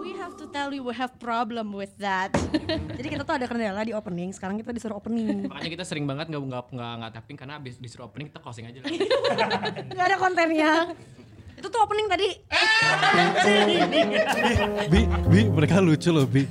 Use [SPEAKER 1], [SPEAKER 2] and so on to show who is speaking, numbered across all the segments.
[SPEAKER 1] We have to tell you we have problem with that.
[SPEAKER 2] Jadi kita tuh ada kendala di opening, sekarang kita disuruh opening.
[SPEAKER 3] Makanya kita sering banget nggak nggak nggak nggak tapping karena abis disuruh opening kita closing aja lah.
[SPEAKER 2] Gak ada kontennya. Itu tuh opening tadi.
[SPEAKER 4] Bi, Bi, mereka lucu loh Bi.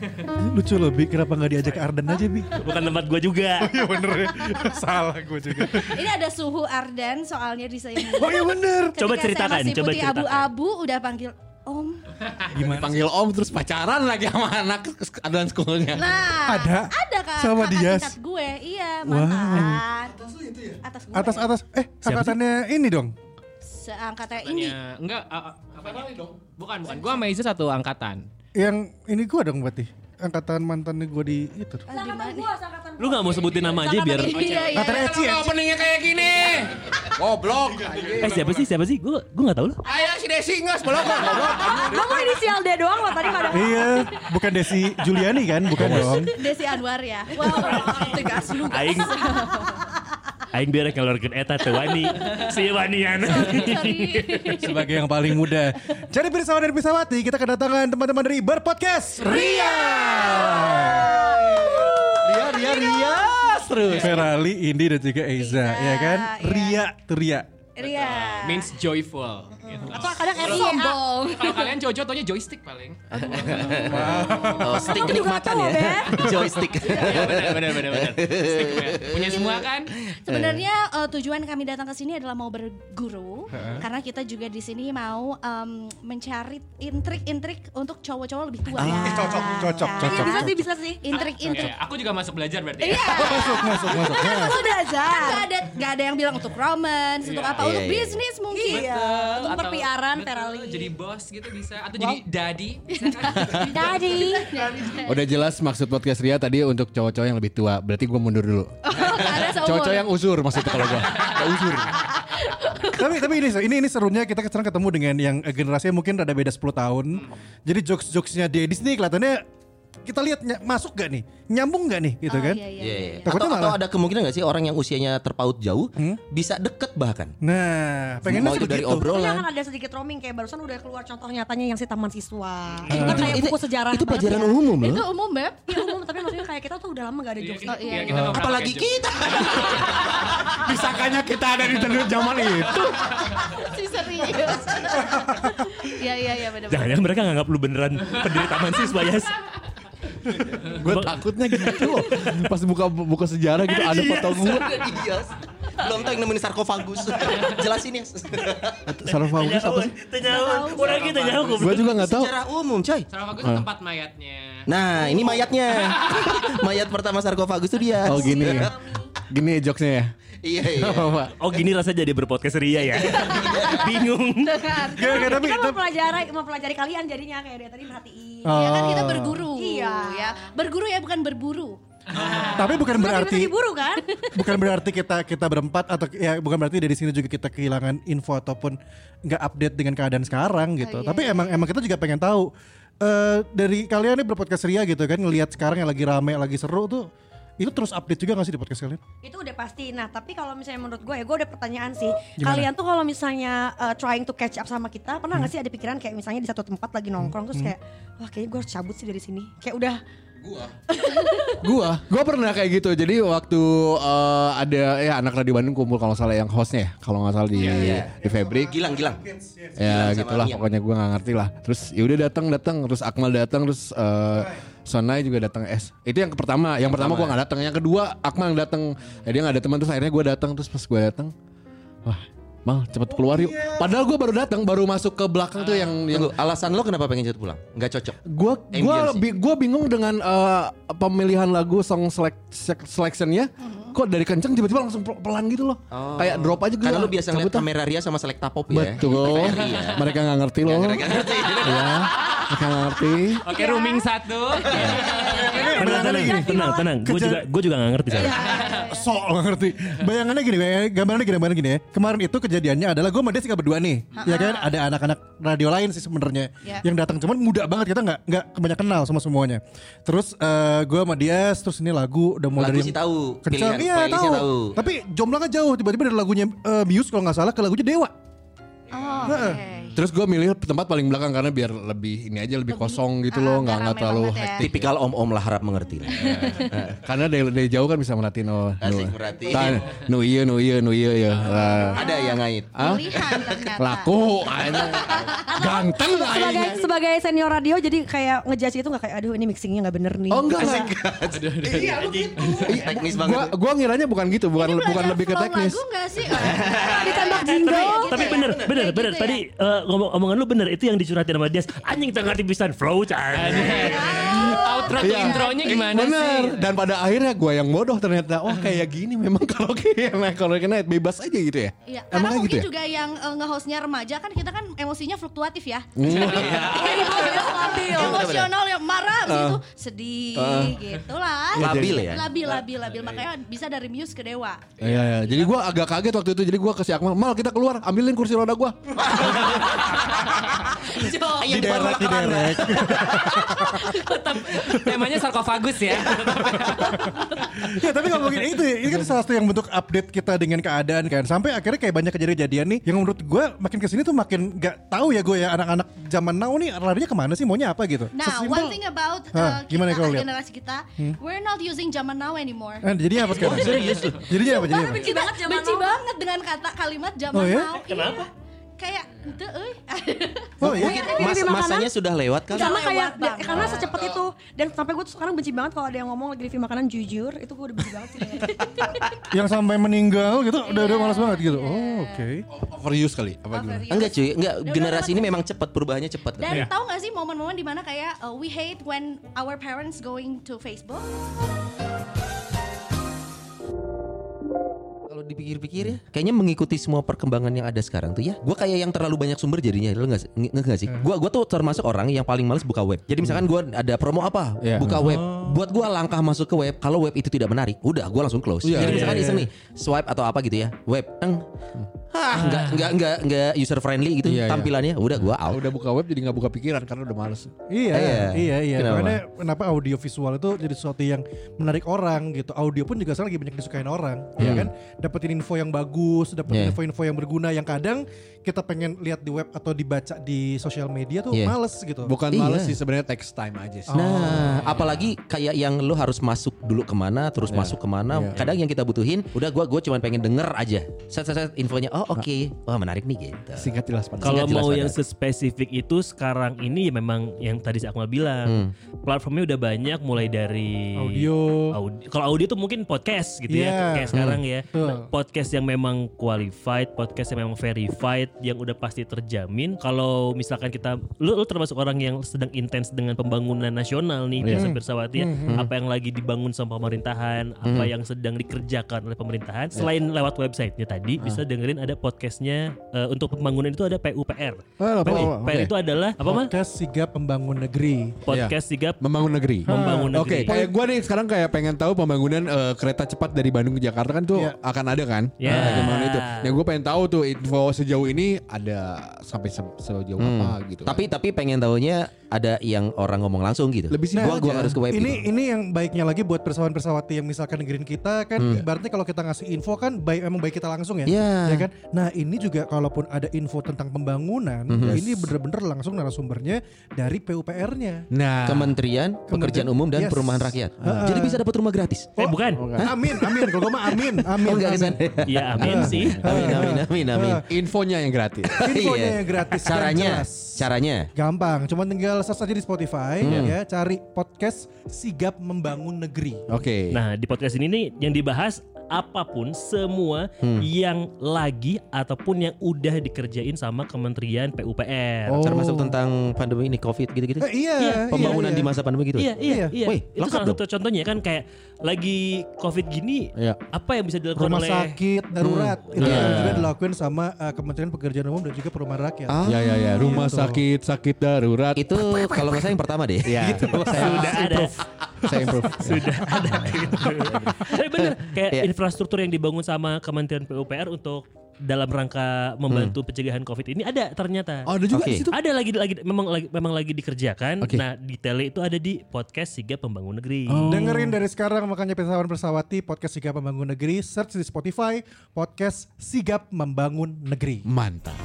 [SPEAKER 4] Lucu loh Bi, kenapa nggak diajak ke Arden aja Bi?
[SPEAKER 5] Bukan tempat gue juga.
[SPEAKER 4] Iya bener ya, salah gue juga.
[SPEAKER 1] Ini ada suhu Arden soalnya di saya. ini.
[SPEAKER 4] Oh iya bener.
[SPEAKER 1] Ketika
[SPEAKER 5] Coba
[SPEAKER 1] saya
[SPEAKER 5] ceritakan,
[SPEAKER 1] masih
[SPEAKER 5] coba
[SPEAKER 1] putih
[SPEAKER 5] ceritakan.
[SPEAKER 1] abu-abu udah panggil Om.
[SPEAKER 4] Gimana?
[SPEAKER 3] Panggil om terus pacaran lagi sama anak aduan sekolahnya.
[SPEAKER 1] Nah,
[SPEAKER 4] Ada?
[SPEAKER 1] ada kak,
[SPEAKER 4] Sama
[SPEAKER 1] kakak
[SPEAKER 4] Dias?
[SPEAKER 1] tingkat gue, iya
[SPEAKER 4] Wow.
[SPEAKER 1] mantan.
[SPEAKER 4] ya?
[SPEAKER 1] Atas gue.
[SPEAKER 4] Atas atas, eh angkatannya ini dong.
[SPEAKER 1] Seangkatnya ini.
[SPEAKER 3] Tanya, enggak, Iya. a- a- apa namanya dong? Bukan, bukan. Gua sama Iza satu angkatan.
[SPEAKER 4] Yang ini gue dong berarti. Angkatan mantannya gue di itu.
[SPEAKER 1] Ah, gimana?
[SPEAKER 5] Lu nggak mau sebutin nama aja
[SPEAKER 1] Kakak
[SPEAKER 5] biar.
[SPEAKER 1] ini, Iya, iya.
[SPEAKER 4] Kata Eci ya.
[SPEAKER 3] openingnya kayak gini. Goblok.
[SPEAKER 5] Eh siapa sih siapa sih? Gue gue nggak tahu loh.
[SPEAKER 3] Ayo si Desi ngas bolak goblok.
[SPEAKER 2] Gue mau Ah, inisial D doang loh tadi gak ada.
[SPEAKER 4] Iya, bukan Desi Juliani kan? Bukan dong.
[SPEAKER 1] Desi Anwar ya. Wow, tegas lu.
[SPEAKER 5] Aing. Aing biar ngeluarkan eta teh Wani. anu. Si Wanian.
[SPEAKER 1] Sorry.
[SPEAKER 4] Sebagai yang paling muda. Jadi Pirsawan dan Pirsawati, kita kedatangan teman-teman dari Berpodcast. Ria!
[SPEAKER 3] Ria Ria Ria.
[SPEAKER 4] Terus. Ferali, Indi dan juga Eiza, ya kan?
[SPEAKER 1] Iya.
[SPEAKER 4] Ria, tuh Ria.
[SPEAKER 1] Ria.
[SPEAKER 3] Means joyful. gitu.
[SPEAKER 2] Atau kadang R
[SPEAKER 1] Sombong.
[SPEAKER 3] Kalau kalian Jojo taunya joystick paling.
[SPEAKER 6] Oh,
[SPEAKER 2] Aku
[SPEAKER 6] stick
[SPEAKER 2] juga
[SPEAKER 6] kenikmatan
[SPEAKER 2] tahu,
[SPEAKER 6] ya. Joystick.
[SPEAKER 3] Iya benar benar benar benar. Stick, ya. Punya semua kan?
[SPEAKER 1] Sebenarnya eh, tujuan kami datang ke sini adalah mau berguru karena kita juga di sini mau em, mencari intrik-intrik untuk cowok-cowok lebih tua. ya.
[SPEAKER 4] Eh, cocok, cocok,
[SPEAKER 1] Kan?
[SPEAKER 4] cocok.
[SPEAKER 2] Bisa sih, bisa sih.
[SPEAKER 3] Oke,
[SPEAKER 1] Intrik-intrik.
[SPEAKER 3] aku juga masuk belajar berarti.
[SPEAKER 1] Iya.
[SPEAKER 3] ya?
[SPEAKER 4] Masuk, masuk.
[SPEAKER 2] Kan sudah aja.
[SPEAKER 1] Gak ada gak ada yang bilang untuk romance, untuk
[SPEAKER 3] Iya.
[SPEAKER 1] apa,
[SPEAKER 6] Iya,
[SPEAKER 1] untuk
[SPEAKER 6] iya.
[SPEAKER 1] bisnis mungkin.
[SPEAKER 2] Iya. Untuk
[SPEAKER 3] Atau-
[SPEAKER 2] perpiaran,
[SPEAKER 3] betul,
[SPEAKER 2] Terali.
[SPEAKER 3] Jadi bos gitu bisa atau jadi daddy. bisa kan?
[SPEAKER 2] Tadi.
[SPEAKER 7] Udah jelas maksud podcast Ria tadi untuk cowok-cowok yang lebih tua. Berarti gue mundur dulu.
[SPEAKER 1] Ada seumur.
[SPEAKER 7] Cowok-cowok yang usur maksudnya kalau gue. usur.
[SPEAKER 4] tapi tapi ini ini ini serunya kita sekarang ketemu dengan yang generasinya mungkin rada beda 10 tahun. Jadi jokes-jokesnya Dedis nih kelihatannya kita lihat ny- masuk gak nih? Nyambung gak nih gitu
[SPEAKER 1] Oh,
[SPEAKER 4] kan?
[SPEAKER 1] iya, iya,
[SPEAKER 6] Iya,
[SPEAKER 1] iya.
[SPEAKER 6] iya. Atau,
[SPEAKER 4] Takutnya
[SPEAKER 6] atau
[SPEAKER 4] malah-
[SPEAKER 6] ada kemungkinan gak sih orang yang usianya terpaut jauh bisa deket bahkan?
[SPEAKER 4] Nah, pengennya
[SPEAKER 6] Mau itu dari
[SPEAKER 4] sebegitu.
[SPEAKER 2] Pokoknya akan
[SPEAKER 6] obrolan.
[SPEAKER 2] ada sedikit roaming kayak barusan udah keluar contoh nyatanya yang si taman siswa.
[SPEAKER 6] Eh,
[SPEAKER 2] Itu kan kayak
[SPEAKER 6] itu-
[SPEAKER 2] buku sejarah.
[SPEAKER 6] Itu
[SPEAKER 2] banget
[SPEAKER 6] pelajaran
[SPEAKER 2] ya.
[SPEAKER 6] umum
[SPEAKER 1] Itu
[SPEAKER 6] loh.
[SPEAKER 1] umum, Beb.
[SPEAKER 2] Ya umum, tapi maksudnya kayak kita tuh udah lama gak ada jokes
[SPEAKER 3] Iya,
[SPEAKER 1] Oh, iya,
[SPEAKER 3] iya,
[SPEAKER 1] iya.
[SPEAKER 3] kita nggak pernah
[SPEAKER 6] Apalagi
[SPEAKER 3] pakai
[SPEAKER 6] kita.
[SPEAKER 7] Disangkanya kita ada di telur zaman itu.
[SPEAKER 1] Si serius. Iya, iya, iya benar.
[SPEAKER 5] Jangan jangan mereka nganggap lu beneran pendiri taman siswa ya.
[SPEAKER 7] Gue takutnya gitu loh. Pas buka buka sejarah gitu ada foto gue.
[SPEAKER 6] Iya. Belum tau yang nemenin sarkofagus. Jelasin ya.
[SPEAKER 7] Sarkofagus apa sih?
[SPEAKER 5] Terjauh. Orang kita jauh
[SPEAKER 7] Gue juga gak tahu.
[SPEAKER 6] Secara umum coy.
[SPEAKER 3] Sarkofagus itu tempat mayatnya.
[SPEAKER 6] Nah ini mayatnya. Mayat pertama sarkofagus tuh dia.
[SPEAKER 7] Oh gini. Gini jokesnya ya.
[SPEAKER 6] Iya iya.
[SPEAKER 7] Apa?
[SPEAKER 5] Oh gini rasanya jadi berpodcast Ria ya. Bingung.
[SPEAKER 4] Gak, gak, tapi,
[SPEAKER 2] Kita mau
[SPEAKER 4] tapi-
[SPEAKER 2] pelajari, mau pelajari kalian jadinya kayak dia tadi merhatiin.
[SPEAKER 1] Iya kan
[SPEAKER 7] Oh.
[SPEAKER 1] kita berguru.
[SPEAKER 2] Iya.
[SPEAKER 1] ya. Berguru ya bukan berburu.
[SPEAKER 4] tapi bukan
[SPEAKER 2] Berarti
[SPEAKER 4] berarti
[SPEAKER 2] diburu kan?
[SPEAKER 4] bukan berarti kita kita berempat atau ya bukan berarti dari sini juga kita kehilangan info ataupun nggak update dengan keadaan sekarang gitu.
[SPEAKER 1] iya,
[SPEAKER 4] Tapi
[SPEAKER 1] iya,
[SPEAKER 4] emang emang kita juga pengen tahu eh, dari kalian nih berpodcast Ria gitu kan ngelihat sekarang yang lagi rame, lagi seru tuh itu terus update juga gak sih di podcast kalian?
[SPEAKER 2] itu udah pasti. Nah, tapi kalau misalnya menurut gue, ya gue ada pertanyaan sih. Kalian tuh kalau misalnya uh, trying to catch up sama kita, pernah nggak sih ada pikiran kayak misalnya di satu tempat lagi nongkrong terus kayak, wah kayaknya gue harus cabut sih dari sini. Kayak udah
[SPEAKER 7] gua gua pernah kayak gitu jadi waktu eh, ada ya anak radio Bandung kumpul kalau nggak salah yang hostnya ya kalau nggak salah di di Fabric
[SPEAKER 6] Gilang Gilang.
[SPEAKER 7] ya
[SPEAKER 6] Gilang sama
[SPEAKER 7] gitulah
[SPEAKER 6] Mian.
[SPEAKER 7] pokoknya gua nggak ngerti lah terus yaudah datang datang terus Akmal datang terus eh, Sonai juga datang es itu yang pertama yang pertama gua nggak datang yang kedua Akmal yang datang ya, dia nggak ada teman terus akhirnya gua datang terus pas gua datang wah mal cepet keluar yuk padahal gua baru datang baru masuk ke belakang tuh yang yang
[SPEAKER 6] Tunggu, alasan lo kenapa pengen cepet pulang? Gak cocok.
[SPEAKER 7] Gua gua
[SPEAKER 6] Ambience.
[SPEAKER 7] bi- gua bingung dengan eh, pemilihan lagu song select se- selectionnya
[SPEAKER 1] Mm-hmm.
[SPEAKER 7] kok dari kenceng tiba-tiba langsung pel- pelan gitu loh kayak drop aja gitu
[SPEAKER 6] Oh. Karena
[SPEAKER 7] ah,
[SPEAKER 6] lo biasa ngeliat
[SPEAKER 7] cabut ah.
[SPEAKER 6] kamera Ria sama selekta pop ya.
[SPEAKER 7] betul mereka nggak ngerti loh
[SPEAKER 6] Gak ngerti.
[SPEAKER 7] ya mereka nggak ngerti
[SPEAKER 3] Oke, rooming satu.
[SPEAKER 5] Tenang tenang tenang tenang. Gue juga gue juga nggak ngerti. Sar.
[SPEAKER 4] sok nggak ngerti. Bayangannya gini, bayangannya- gambarannya gini, gambarannya gini ya. Kemarin itu kejadiannya adalah gue sama Desi nggak berdua nih. Ya kan ada anak-anak radio lain sih sebenarnya
[SPEAKER 1] Ya.
[SPEAKER 4] yang datang cuman muda banget kita nggak nggak kebanyakan kenal sama semuanya. Terus eh, gue sama dia terus ini lagu udah mulai
[SPEAKER 6] Lagu
[SPEAKER 4] dari
[SPEAKER 6] sih tahu,
[SPEAKER 4] kencang.
[SPEAKER 6] pilihan
[SPEAKER 4] Iya
[SPEAKER 6] playlistnya
[SPEAKER 4] tahu.
[SPEAKER 6] tahu.
[SPEAKER 4] Tapi jomblangnya jauh tiba-tiba dari lagunya eh, Muse kalau nggak salah ke lagunya Dewa.
[SPEAKER 1] Oh, oke.
[SPEAKER 7] Terus gue milih tempat paling belakang karena biar lebih ini aja lebih kosong gitu
[SPEAKER 1] ah,
[SPEAKER 7] loh,
[SPEAKER 1] nggak
[SPEAKER 7] nggak nggak
[SPEAKER 1] rame
[SPEAKER 7] terlalu
[SPEAKER 1] banget ya.
[SPEAKER 7] hektik. Eh,
[SPEAKER 6] Tipikal om-om lah harap mengerti. lah.
[SPEAKER 7] Karena dari, dari jauh kan bisa merhatiin oh.
[SPEAKER 6] Asik
[SPEAKER 7] nu-
[SPEAKER 6] merhatiin.
[SPEAKER 7] Tan- Nu iya, nu iya, nu iya ya. Ah.
[SPEAKER 6] Ada yang ngait.
[SPEAKER 1] Pilihan Oh, ternyata.
[SPEAKER 7] Laku, anjing. ganteng
[SPEAKER 2] sebagai
[SPEAKER 7] anjing.
[SPEAKER 2] sebagai senior radio jadi kayak ngejudge itu nggak kayak aduh ini mixingnya nggak bener nih.
[SPEAKER 7] Oh enggak, enggak.
[SPEAKER 6] Iya begitu. Teknis banget.
[SPEAKER 7] Gua gua ngiranya bukan gitu, bukan
[SPEAKER 1] Belajar
[SPEAKER 7] bukan lebih ke
[SPEAKER 1] flow
[SPEAKER 7] teknis.
[SPEAKER 1] Lagu gak sih? Iya,
[SPEAKER 2] Ditembak
[SPEAKER 8] Tapi,
[SPEAKER 2] jingle.
[SPEAKER 8] tapi bener, bener,
[SPEAKER 1] Kayak
[SPEAKER 8] bener.
[SPEAKER 1] gitu
[SPEAKER 8] Tadi eh, ngomong omongan lu bener, itu yang dicuratin sama dia. Anjing tak ngerti pisan flow can.
[SPEAKER 3] Outro to
[SPEAKER 7] Iya.
[SPEAKER 3] intronya gimana
[SPEAKER 7] Bener.
[SPEAKER 3] sih?
[SPEAKER 7] Dan pada akhirnya gua yang bodoh ternyata. Wah kayak gini memang kalau kayak naik kalau naik bebas aja gitu ya.
[SPEAKER 1] Iya, karena
[SPEAKER 7] Emang kayak
[SPEAKER 1] mungkin
[SPEAKER 7] gitu ya.
[SPEAKER 1] juga yang eh, nge-hostnya remaja kan kita kan emosinya fluktuatif ya.
[SPEAKER 7] Iya. Hmm.
[SPEAKER 1] iya, Emosional ya marah
[SPEAKER 7] Uh-uh.
[SPEAKER 1] abis itu sedih gitu
[SPEAKER 7] Iya,
[SPEAKER 1] lah.
[SPEAKER 6] Labil ya?
[SPEAKER 1] Labil, labil,
[SPEAKER 8] iya,
[SPEAKER 1] labil. Makanya bisa dari Muse ke Dewa.
[SPEAKER 7] Iya, iya. Jadi gua agak kaget waktu itu. Jadi gua ke si Akmal, "Mal, kita keluar, ambilin kursi roda gua."
[SPEAKER 6] Iya, Di daerah, di daerah.
[SPEAKER 3] Tetap temanya sarkofagus
[SPEAKER 1] Iya.
[SPEAKER 3] ya.
[SPEAKER 4] ya tapi ngomongin itu ini kan salah satu yang bentuk update kita dengan keadaan kan sampai akhirnya kayak banyak kejadian-kejadian nih yang menurut gue makin kesini tuh makin nggak tahu ya gue ya anak-anak zaman now nih larinya kemana sih maunya apa gitu
[SPEAKER 1] Nah,
[SPEAKER 4] Sesimpel-
[SPEAKER 1] one thing about eh,
[SPEAKER 4] Hah, gimana ya
[SPEAKER 1] kita,
[SPEAKER 4] kalau lihat?
[SPEAKER 1] generasi kita,
[SPEAKER 7] Hmm.
[SPEAKER 1] we're not using zaman now anymore.
[SPEAKER 4] Eh, jadi apa
[SPEAKER 6] Oh,
[SPEAKER 4] sekarang jadi apa jadi apa
[SPEAKER 1] benci banget zaman benci banget dengan kata kalimat zaman
[SPEAKER 4] Oh, ya?
[SPEAKER 1] now. Kenapa? Kayak ente euy.
[SPEAKER 4] oh iya
[SPEAKER 6] Mungkin
[SPEAKER 2] Ini Iya.
[SPEAKER 6] mas-
[SPEAKER 2] makanan.
[SPEAKER 6] masanya sudah lewat kan? kali.
[SPEAKER 2] Sama kayak ya,
[SPEAKER 1] Lewat banget.
[SPEAKER 2] karena secepat itu dan sampai gue tuh sekarang benci banget kalau ada yang ngomong lagi review makanan jujur itu gue udah benci banget sih. kayak.
[SPEAKER 4] yang sampai meninggal gitu udah
[SPEAKER 1] Iya.
[SPEAKER 4] udah malas banget gitu oh oke
[SPEAKER 7] Overuse kali apa gimana?
[SPEAKER 6] Enggak cuy, enggak generasi ini memang cepat perubahannya cepat.
[SPEAKER 1] Dan
[SPEAKER 4] Iya.
[SPEAKER 1] tahu gak sih momen-momen dimana kayak uh, we hate when our parents going to Facebook?
[SPEAKER 6] Kalau dipikir-pikir ya, kayaknya mengikuti semua perkembangan yang ada sekarang tuh ya. Gua kayak yang terlalu banyak sumber jadinya, lo nggak nge- nge- nggak sih? Gua gua tuh termasuk orang yang paling males buka web. Jadi misalkan gua ada promo apa,
[SPEAKER 7] Iya.
[SPEAKER 6] buka web. Buat gua langkah masuk ke web, kalau web itu tidak menarik, udah gua langsung close.
[SPEAKER 7] Iya,
[SPEAKER 6] Jadi
[SPEAKER 7] iya,
[SPEAKER 6] misalkan iseng nih, swipe atau apa gitu ya, web, eng, Hah, nggak nggak nggak nggak user friendly gitu
[SPEAKER 7] Iya, iya.
[SPEAKER 6] tampilannya, udah gua
[SPEAKER 7] Ah,
[SPEAKER 6] out.
[SPEAKER 7] udah buka web jadi nggak buka pikiran karena udah males.
[SPEAKER 4] Iya,
[SPEAKER 6] Iya.
[SPEAKER 4] iya, iya.
[SPEAKER 6] Kenapa?
[SPEAKER 4] Makanya kenapa audio visual itu jadi sesuatu yang menarik orang gitu. Audio pun juga sekarang lagi banyak disukain orang, ya kan? Dapetin info yang bagus, dapetin
[SPEAKER 6] Yeah.
[SPEAKER 4] info-info yang berguna yang kadang kita pengen lihat di web atau dibaca di sosial media tuh
[SPEAKER 6] Yeah.
[SPEAKER 4] males gitu.
[SPEAKER 7] Bukan
[SPEAKER 6] Iya.
[SPEAKER 7] males sih sebenarnya text time aja
[SPEAKER 4] Oh,
[SPEAKER 7] sih.
[SPEAKER 4] iya,
[SPEAKER 6] Nah, apalagi kayak yang lu harus masuk dulu kemana, terus
[SPEAKER 4] Iya,
[SPEAKER 6] masuk kemana. Kadang yang kita butuhin, udah gua gua cuman pengen denger aja. Set set, set infonya. Oh, oke.
[SPEAKER 4] Ah.
[SPEAKER 6] Wah, menarik nih gitu.
[SPEAKER 7] Singkat jelas padat.
[SPEAKER 6] Singkat
[SPEAKER 8] Kalau
[SPEAKER 6] jelas
[SPEAKER 8] mau
[SPEAKER 6] padat.
[SPEAKER 8] yang sespesifik itu sekarang ini ya memang yang tadi si Akmal bilang platformnya udah banyak mulai dari
[SPEAKER 4] Audio.
[SPEAKER 8] Audi- kalau audio tuh mungkin podcast gitu
[SPEAKER 4] Iya.
[SPEAKER 8] ya kayak sekarang ya
[SPEAKER 4] Betul.
[SPEAKER 8] Nah, podcast yang memang qualified podcast yang memang verified yang udah pasti terjamin kalau misalkan kita lu, lu termasuk orang yang sedang intens dengan pembangunan nasional nih
[SPEAKER 4] Iya.
[SPEAKER 8] biasa Pirsawati ya.
[SPEAKER 4] Hmm.
[SPEAKER 8] apa yang lagi dibangun sama pemerintahan apa yang sedang dikerjakan oleh
[SPEAKER 4] Ya.
[SPEAKER 8] pemerintahan selain lewat websitenya
[SPEAKER 4] Ah.
[SPEAKER 8] tadi bisa dengerin ada podcastnya eh, untuk pembangunan itu ada PUPR
[SPEAKER 4] Oh,
[SPEAKER 7] Ah, apa,
[SPEAKER 8] PUPR
[SPEAKER 7] apa, oke.
[SPEAKER 4] iya.
[SPEAKER 8] itu adalah apa mah
[SPEAKER 4] Podcast Sigap Pembangun Negeri.
[SPEAKER 8] podcast sigap
[SPEAKER 7] Membangun negeri.
[SPEAKER 8] membangun
[SPEAKER 7] Oke,
[SPEAKER 8] negeri
[SPEAKER 7] kayak gue nih sekarang kayak pengen tahu pembangunan eh, kereta cepat dari Bandung ke Jakarta kan tuh
[SPEAKER 4] Iya.
[SPEAKER 7] akan ada kan?
[SPEAKER 8] Iya.
[SPEAKER 7] Nah, bagaimana itu. Nah, gue pengen tahu tuh info sejauh ini ada sampai se- sejauh
[SPEAKER 6] Hmm.
[SPEAKER 7] apa gitu. kan.
[SPEAKER 6] Tapi tapi pengen tahunya ada yang orang ngomong langsung gitu.
[SPEAKER 7] Lebih simpel
[SPEAKER 6] gua, gua
[SPEAKER 7] aja.
[SPEAKER 6] harus ke web
[SPEAKER 4] ini
[SPEAKER 6] gitu.
[SPEAKER 4] ini yang baiknya lagi buat persawahan-persawati yang misalkan dengerin kita kan ibaratnya kalau kita ngasih info kan baik emang baik kita langsung ya.
[SPEAKER 6] Iya.
[SPEAKER 4] Ya kan? Nah, ini juga kalaupun ada info tentang pembangunan, ya
[SPEAKER 6] Mhm.
[SPEAKER 4] ini bener-bener langsung narasumbernya dari PUPR-nya.
[SPEAKER 7] nah,
[SPEAKER 6] Kementerian Pekerjaan Umum dan
[SPEAKER 4] Yes.
[SPEAKER 6] Perumahan Rakyat.
[SPEAKER 4] Ah. Oh,
[SPEAKER 6] Jadi bisa dapat rumah gratis.
[SPEAKER 4] Iya.
[SPEAKER 8] eh bukan
[SPEAKER 4] Amin, amin. Kalau gue mah amin, amin.
[SPEAKER 6] Oh, enggak
[SPEAKER 4] amin.
[SPEAKER 6] kesan.
[SPEAKER 4] iya.
[SPEAKER 8] ya amin sih
[SPEAKER 6] Amin amin amin amin.
[SPEAKER 7] Nah, infonya yang gratis.
[SPEAKER 4] Ah. Infonya
[SPEAKER 6] Iya.
[SPEAKER 4] yang gratis dan
[SPEAKER 6] Caranya,
[SPEAKER 4] jelas.
[SPEAKER 6] caranya.
[SPEAKER 4] Gampang, cuma tinggal search aja di Spotify
[SPEAKER 6] Mhm.
[SPEAKER 4] ya, cari podcast Sigap Membangun Negeri.
[SPEAKER 7] Oke.
[SPEAKER 8] Nah di podcast ini nih yang dibahas apapun semua yang lagi ataupun yang udah dikerjain sama Kementerian PUPR.
[SPEAKER 4] Oh.
[SPEAKER 6] Termasuk tentang pandemi ini Covid gitu-gitu.
[SPEAKER 4] Eh, iya,
[SPEAKER 8] Iya,
[SPEAKER 4] iya,
[SPEAKER 6] Pembangunan
[SPEAKER 4] iya.
[SPEAKER 6] di masa pandemi gitu.
[SPEAKER 8] Iya iya
[SPEAKER 4] Iya.
[SPEAKER 8] iya.
[SPEAKER 6] Wih,
[SPEAKER 8] Itu
[SPEAKER 6] lengkap
[SPEAKER 8] salah
[SPEAKER 6] dong.
[SPEAKER 8] satu contohnya kan kayak lagi COVID gini
[SPEAKER 7] Iya.
[SPEAKER 8] apa yang bisa dilakukan
[SPEAKER 4] rumah
[SPEAKER 8] oleh
[SPEAKER 4] sakit darurat itu
[SPEAKER 6] Iya.
[SPEAKER 4] yang juga dilakuin sama eh, Kementerian Pekerjaan Umum dan juga Perumahan Rakyat.
[SPEAKER 6] Ah.
[SPEAKER 7] Ya ya ya, rumah
[SPEAKER 4] Gitu.
[SPEAKER 7] sakit sakit darurat.
[SPEAKER 6] Itu kalau nggak salah yang pertama deh.
[SPEAKER 7] Ya.
[SPEAKER 6] gitu.
[SPEAKER 8] sudah ada
[SPEAKER 7] saya improve.
[SPEAKER 5] sudah ada gitu. Tapi bener kayak
[SPEAKER 6] Iya.
[SPEAKER 5] infrastruktur yang dibangun sama Kementerian PUPR untuk dalam rangka membantu pencegahan COVID ini ada ternyata.
[SPEAKER 7] Oh, ada juga
[SPEAKER 6] Oke.
[SPEAKER 7] di situ.
[SPEAKER 5] Ada lagi lagi memang lagi memang lagi dikerjakan.
[SPEAKER 7] Oke.
[SPEAKER 5] Nah, detailnya itu ada di podcast Siga Pembangun Negeri.
[SPEAKER 4] Dengerin dari sekarang makanya pesawat bersawati podcast Sigap Membangun Negeri search di Spotify podcast Sigap Membangun Negeri.
[SPEAKER 7] Mantap.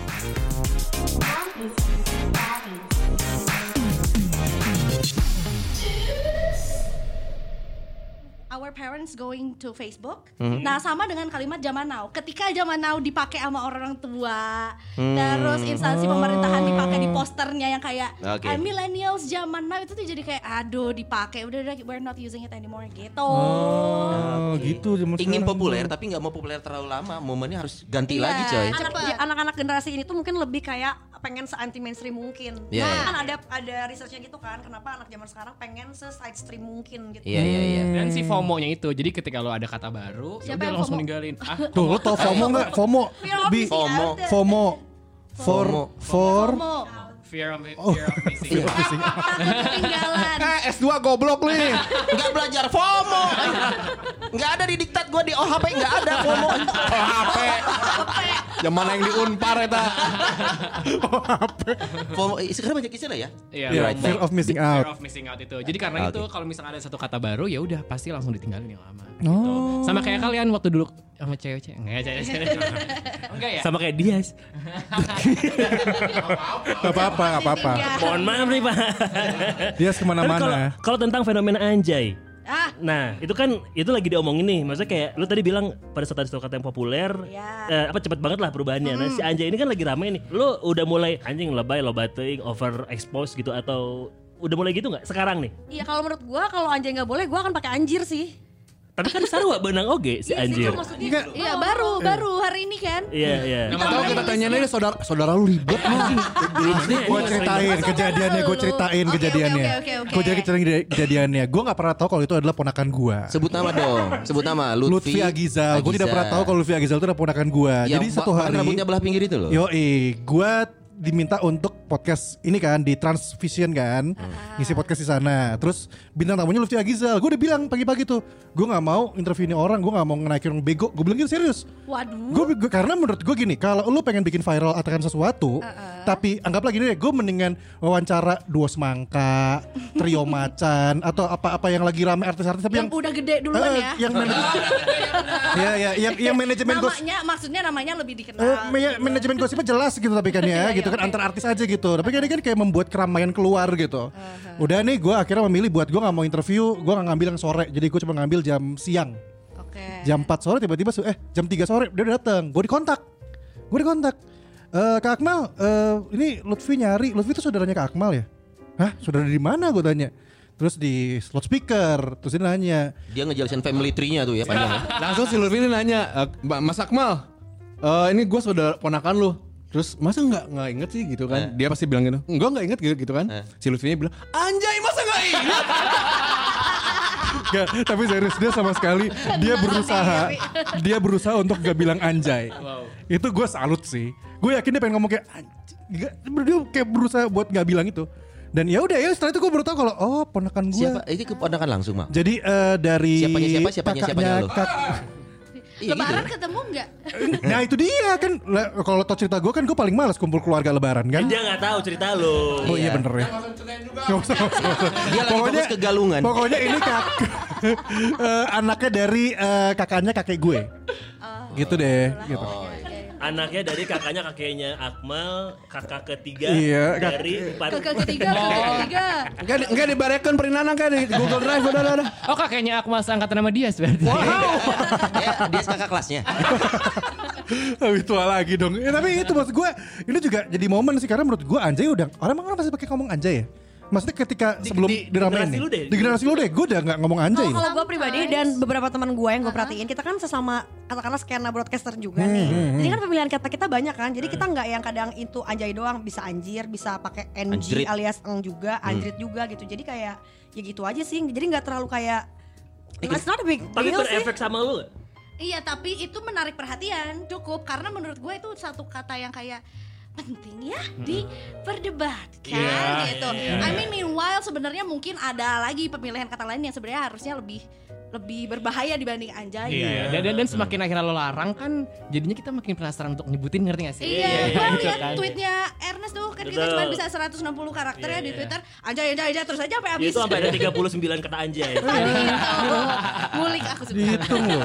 [SPEAKER 1] our parents going to Facebook.
[SPEAKER 4] Hmm.
[SPEAKER 1] Nah, sama dengan kalimat zaman now. Ketika zaman now dipakai sama orang tua,
[SPEAKER 4] Hmm.
[SPEAKER 1] terus instansi pemerintahan
[SPEAKER 4] Oh.
[SPEAKER 1] dipakai di posternya yang kayak
[SPEAKER 6] Oke.
[SPEAKER 1] "Ah, millennials zaman now itu tuh jadi kayak aduh dipakai udah udah we're not using it anymore gitu.
[SPEAKER 4] Oh, gitu zaman
[SPEAKER 6] Ingin
[SPEAKER 4] sekarang.
[SPEAKER 6] populer tapi nggak mau populer terlalu lama. Momennya harus
[SPEAKER 2] Iya,
[SPEAKER 6] ganti lagi coy.
[SPEAKER 2] anak- Anak-anak generasi ini tuh mungkin lebih kayak pengen se-anti mainstream mungkin.
[SPEAKER 6] Iya, iya.
[SPEAKER 2] Nah, kan ada ada researchnya gitu kan, kenapa anak zaman sekarang pengen se-side stream mungkin gitu.
[SPEAKER 6] Iya iya iya.
[SPEAKER 3] Dan si FOMO-nya itu, jadi ketika lo ada kata baru,
[SPEAKER 1] Siapa
[SPEAKER 3] udah
[SPEAKER 1] yang FOMO?
[SPEAKER 3] langsung ninggalin. Ah,
[SPEAKER 4] Tuh lo tau FOMO nggak? FOMO. Bi.
[SPEAKER 6] FOMO.
[SPEAKER 1] gitu.
[SPEAKER 4] FOMO. For
[SPEAKER 6] FOMO.
[SPEAKER 4] for
[SPEAKER 1] Mau
[SPEAKER 3] fear of,
[SPEAKER 4] Oh.
[SPEAKER 3] fear of missing. out.
[SPEAKER 1] takut ketinggalan.
[SPEAKER 7] Eh S2 goblok lu ini.
[SPEAKER 6] Nggak belajar FOMO. Nggak ada di diktat gua di OHP nggak ada FOMO.
[SPEAKER 7] HP. Oh, Zaman yang diunpar eta.
[SPEAKER 6] FOMO eh, sekarang banyak istilah ya.
[SPEAKER 3] Iya,
[SPEAKER 4] Iya,
[SPEAKER 3] FOMO.
[SPEAKER 4] fear of missing
[SPEAKER 3] Fear
[SPEAKER 4] out. Ah,
[SPEAKER 3] of missing out itu. Jadi karena
[SPEAKER 6] Oke.
[SPEAKER 3] itu kalau misalnya ada satu kata baru ya udah pasti langsung ditinggalin yang lama. gitu.
[SPEAKER 4] Oh.
[SPEAKER 3] Sama kayak kalian waktu dulu sama cewek-cewek. Enggak, cewek-cewek. Enggak ya?
[SPEAKER 5] Sama kayak Dias.
[SPEAKER 4] Gak apa-apa, gak apa-apa.
[SPEAKER 5] Mohon maaf nih Pak.
[SPEAKER 4] Dia
[SPEAKER 5] Tapi kalau
[SPEAKER 4] kemana-mana.
[SPEAKER 5] kalau tentang fenomena anjay.
[SPEAKER 1] Ah.
[SPEAKER 5] Nah, itu kan itu lagi diomongin nih. Maksudnya kayak lu tadi bilang pada saat ada satu kata yang populer
[SPEAKER 1] Iya.
[SPEAKER 5] eh, apa cepet banget lah perubahannya. Nah, si anjay ini kan lagi rame nih. Lu udah mulai anjing lebay loba teuing over expose gitu atau udah mulai gitu nggak sekarang nih?
[SPEAKER 2] Iya, kalau menurut gua kalau anjay nggak boleh, gua akan pakai anjir sih.
[SPEAKER 5] Tapi kan sarua benang oge si anjir.
[SPEAKER 4] Enggak.
[SPEAKER 1] Iya, baru baru hari ini kan.
[SPEAKER 5] Iya, iya.
[SPEAKER 7] Kita tahu kita tanyain aja saudara saudara lu ribet mah.
[SPEAKER 4] Gue ceritain
[SPEAKER 1] Masa
[SPEAKER 4] kejadiannya, gue
[SPEAKER 1] lu?
[SPEAKER 4] ceritain
[SPEAKER 1] Oke,
[SPEAKER 4] kejadiannya.
[SPEAKER 1] oke, oke, oke,
[SPEAKER 4] Gue
[SPEAKER 1] oke.
[SPEAKER 4] jadi ceritain kejadian- kejadiannya. Gue gak pernah tahu kalau itu adalah ponakan gue.
[SPEAKER 6] Sebut nama dong. Sebut nama Lutfi,
[SPEAKER 4] Lutfi Agizal. Gue tidak pernah tahu kalau Lutfi Agizal itu adalah ponakan gue.
[SPEAKER 6] Yang
[SPEAKER 4] Jadi satu
[SPEAKER 6] ba-
[SPEAKER 4] hari.
[SPEAKER 6] rambutnya belah pinggir itu loh.
[SPEAKER 4] Yoi, gue diminta untuk podcast ini kan di Transvision kan,
[SPEAKER 1] Hmm.
[SPEAKER 4] ngisi podcast di sana. Terus bintang tamunya Lutfi Agizal. Gue udah bilang pagi-pagi tuh, gue nggak mau interview ini orang, gue nggak mau ngenaikin orang bego. Gue bilang gitu serius.
[SPEAKER 1] Waduh.
[SPEAKER 4] Gue gue- karena menurut gue gini, kalau lu pengen bikin viral atakan sesuatu, tapi anggaplah gini deh, gue mendingan wawancara dua semangka, trio macan, atau apa-apa yang lagi rame artis-artis tapi
[SPEAKER 1] Yang
[SPEAKER 4] yang
[SPEAKER 1] udah gede duluan
[SPEAKER 4] eh,
[SPEAKER 1] ya.
[SPEAKER 4] yang manajemen, ya, ya, yang, yang manajemen gos-
[SPEAKER 1] namanya maksudnya namanya lebih dikenal.
[SPEAKER 4] Eh, ya, manajemen gosipnya jelas gitu tapi kan
[SPEAKER 1] Nah,
[SPEAKER 4] ya
[SPEAKER 1] gitu. Iya, iya,
[SPEAKER 4] gitu kan
[SPEAKER 1] oke.
[SPEAKER 4] antar artis aja gitu tapi kan ini kan kayak membuat keramaian keluar gitu
[SPEAKER 1] Uh-huh.
[SPEAKER 4] udah nih gue akhirnya memilih buat gue nggak mau interview gue nggak ngambil yang sore jadi gue cuma ngambil jam siang
[SPEAKER 1] Oke.
[SPEAKER 4] jam 4 sore tiba-tiba su- eh jam 3 sore dia udah datang gue dikontak gue dikontak Eh kak Akmal eh, ini Lutfi nyari Lutfi itu saudaranya kak Akmal ya hah saudara di mana gue tanya terus di loudspeaker terus dia nanya
[SPEAKER 6] Dia ngejelasin family tree-nya tuh ya panjang. ya.
[SPEAKER 7] Langsung si Lutfi ini nanya, "Eh, Mbak Mas Akmal, eh, ini gue saudara ponakan lu. Terus masa nggak nggak inget sih gitu
[SPEAKER 4] Eh.
[SPEAKER 7] kan? Dia pasti bilang gitu. Enggak nggak inget gitu, gitu kan?
[SPEAKER 6] Eh.
[SPEAKER 7] Si Lutfi ini bilang, anjay masa nggak inget?
[SPEAKER 4] Gak, tapi serius dia sama sekali dia berusaha dia berusaha untuk gak bilang anjay. Itu gue salut sih. Gue yakin dia pengen ngomong kayak anjing. Gak, dia kayak berusaha buat gak bilang itu. Dan ya udah ya setelah itu gue baru tahu kalau oh ponakan gue.
[SPEAKER 6] Siapa? Ini keponakan langsung mah.
[SPEAKER 4] Jadi eh, dari
[SPEAKER 6] Siapanya siapa, siapanya
[SPEAKER 4] kakaknya
[SPEAKER 6] siapanya lu?
[SPEAKER 4] kak-
[SPEAKER 6] Iya gitu.
[SPEAKER 1] Lebaran ketemu enggak?
[SPEAKER 4] nah itu dia kan Lah, kalau tau cerita gue kan gue paling males kumpul keluarga lebaran kan.
[SPEAKER 5] Dia nggak tahu cerita lu.
[SPEAKER 4] Oh iya,
[SPEAKER 6] Iya.
[SPEAKER 4] bener ya. Nggak usah, nggak usah, nggak usah.
[SPEAKER 6] Dia lagi fokus ke galungan.
[SPEAKER 4] Pokoknya ini kak eh, anaknya dari eh, kakaknya kakek gue. gitu deh, gitu.
[SPEAKER 5] Anaknya dari kakaknya kakeknya Akmal, kakak ketiga
[SPEAKER 4] Iya, kak-
[SPEAKER 5] dari empat.
[SPEAKER 1] Kakak ketiga, kakak ketiga.
[SPEAKER 7] Enggak di- enggak dibarekan perinana kan di Google Drive udah udah. udah.
[SPEAKER 3] Oh, kakeknya Akmal seangkatan sama dia berarti.
[SPEAKER 6] Dia, dia kakak kelasnya.
[SPEAKER 4] Lebih Oh, tua lagi dong. Ya, tapi itu maksud gue, ini juga jadi momen sih karena menurut gue anjay udah orang orang masih pakai ngomong anjay ya. Maksudnya ketika sebelum
[SPEAKER 5] di-
[SPEAKER 4] diramein
[SPEAKER 5] generasi
[SPEAKER 4] nih.
[SPEAKER 5] lu deh.
[SPEAKER 4] Di generasi lu deh, gue udah gak ngomong anjay.
[SPEAKER 2] Oh, Kalau gue pribadi dan beberapa teman gue yang gue perhatiin, kita kan sesama katakanlah skena broadcaster juga nih. Jadi kan pemilihan kata kita banyak kan. Jadi
[SPEAKER 6] Hmm.
[SPEAKER 2] kita nggak yang kadang itu anjay doang, bisa anjir, bisa pakai ng
[SPEAKER 6] Anjrit. Hmm.
[SPEAKER 2] alias eng juga, anjrit juga gitu. Jadi kayak ya gitu aja sih. Jadi nggak terlalu kayak It's not a big
[SPEAKER 5] Tapi
[SPEAKER 2] deal sih.
[SPEAKER 5] berefek sama lu. nggak?
[SPEAKER 1] Iya, tapi itu menarik perhatian cukup karena menurut gue itu satu kata yang kayak penting ya diperdebatkan
[SPEAKER 5] Iya,
[SPEAKER 1] gitu.
[SPEAKER 5] iya,
[SPEAKER 1] I mean meanwhile sebenarnya mungkin ada lagi pemilihan kata lain yang sebenarnya harusnya lebih lebih berbahaya dibanding anjay.
[SPEAKER 3] Iya. Dan, dan, dan semakin akhirnya lo larang kan, jadinya kita makin penasaran untuk nyebutin ngerti gak sih?
[SPEAKER 1] Iya,
[SPEAKER 3] Iya,
[SPEAKER 1] gue
[SPEAKER 3] gitu
[SPEAKER 1] liat
[SPEAKER 3] kan.
[SPEAKER 1] tweetnya Ernest tuh kan kita cuma bisa 160 karakter ya di Twitter. Anjay, anjay, anjay terus aja sampai habis.
[SPEAKER 8] Iya, Itu sampai ada 39 kata anjay.
[SPEAKER 1] Gitu. Ngulik aku suka.
[SPEAKER 4] Dihitung loh.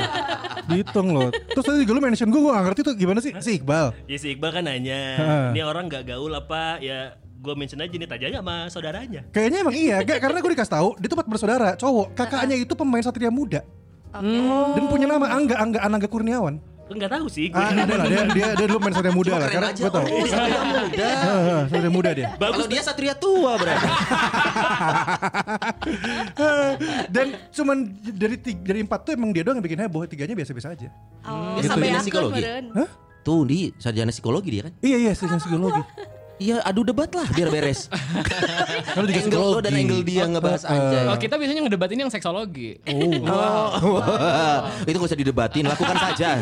[SPEAKER 4] Dihitung loh. Terus tadi juga lu mention gue, gue gak ngerti tuh gimana sih si Iqbal.
[SPEAKER 8] Ya si Iqbal kan nanya,
[SPEAKER 4] Heeh.
[SPEAKER 8] ini orang gak gaul apa ya gue mention aja nih tanya aja sama saudaranya.
[SPEAKER 4] Kayaknya emang iya, gak, karena gue dikasih tahu dia tuh empat bersaudara, cowok. Kakaknya itu pemain Satria Muda dan punya nama Angga Angga Anangga Kurniawan.
[SPEAKER 8] Enggak tahu sih gue.
[SPEAKER 4] Ah, ada lah dia dia dia dulu main Satria Muda lah karena gue tahu.
[SPEAKER 6] Oh, satria muda.
[SPEAKER 4] Heeh, Satria Muda dia.
[SPEAKER 6] Kalau dia satria tua berarti.
[SPEAKER 4] Dan cuman dari tiga, dari empat tuh emang dia doang yang bikin heboh, tiganya biasa-biasa aja.
[SPEAKER 1] Oh,
[SPEAKER 6] Gitu.
[SPEAKER 1] sampai
[SPEAKER 6] Ini
[SPEAKER 1] aku
[SPEAKER 6] psikologi.
[SPEAKER 1] kemarin.
[SPEAKER 6] Tuh di sarjana psikologi dia kan.
[SPEAKER 4] Iya iya, sering psikologi.
[SPEAKER 6] Iya adu debat lah biar beres. Kalau juga angle lo dan angle dia ngebahas anjay.
[SPEAKER 3] Kalau Oh, kita biasanya ngedebatin yang seksologi.
[SPEAKER 4] Oh.
[SPEAKER 6] Itu gak usah didebatin, lakukan saja.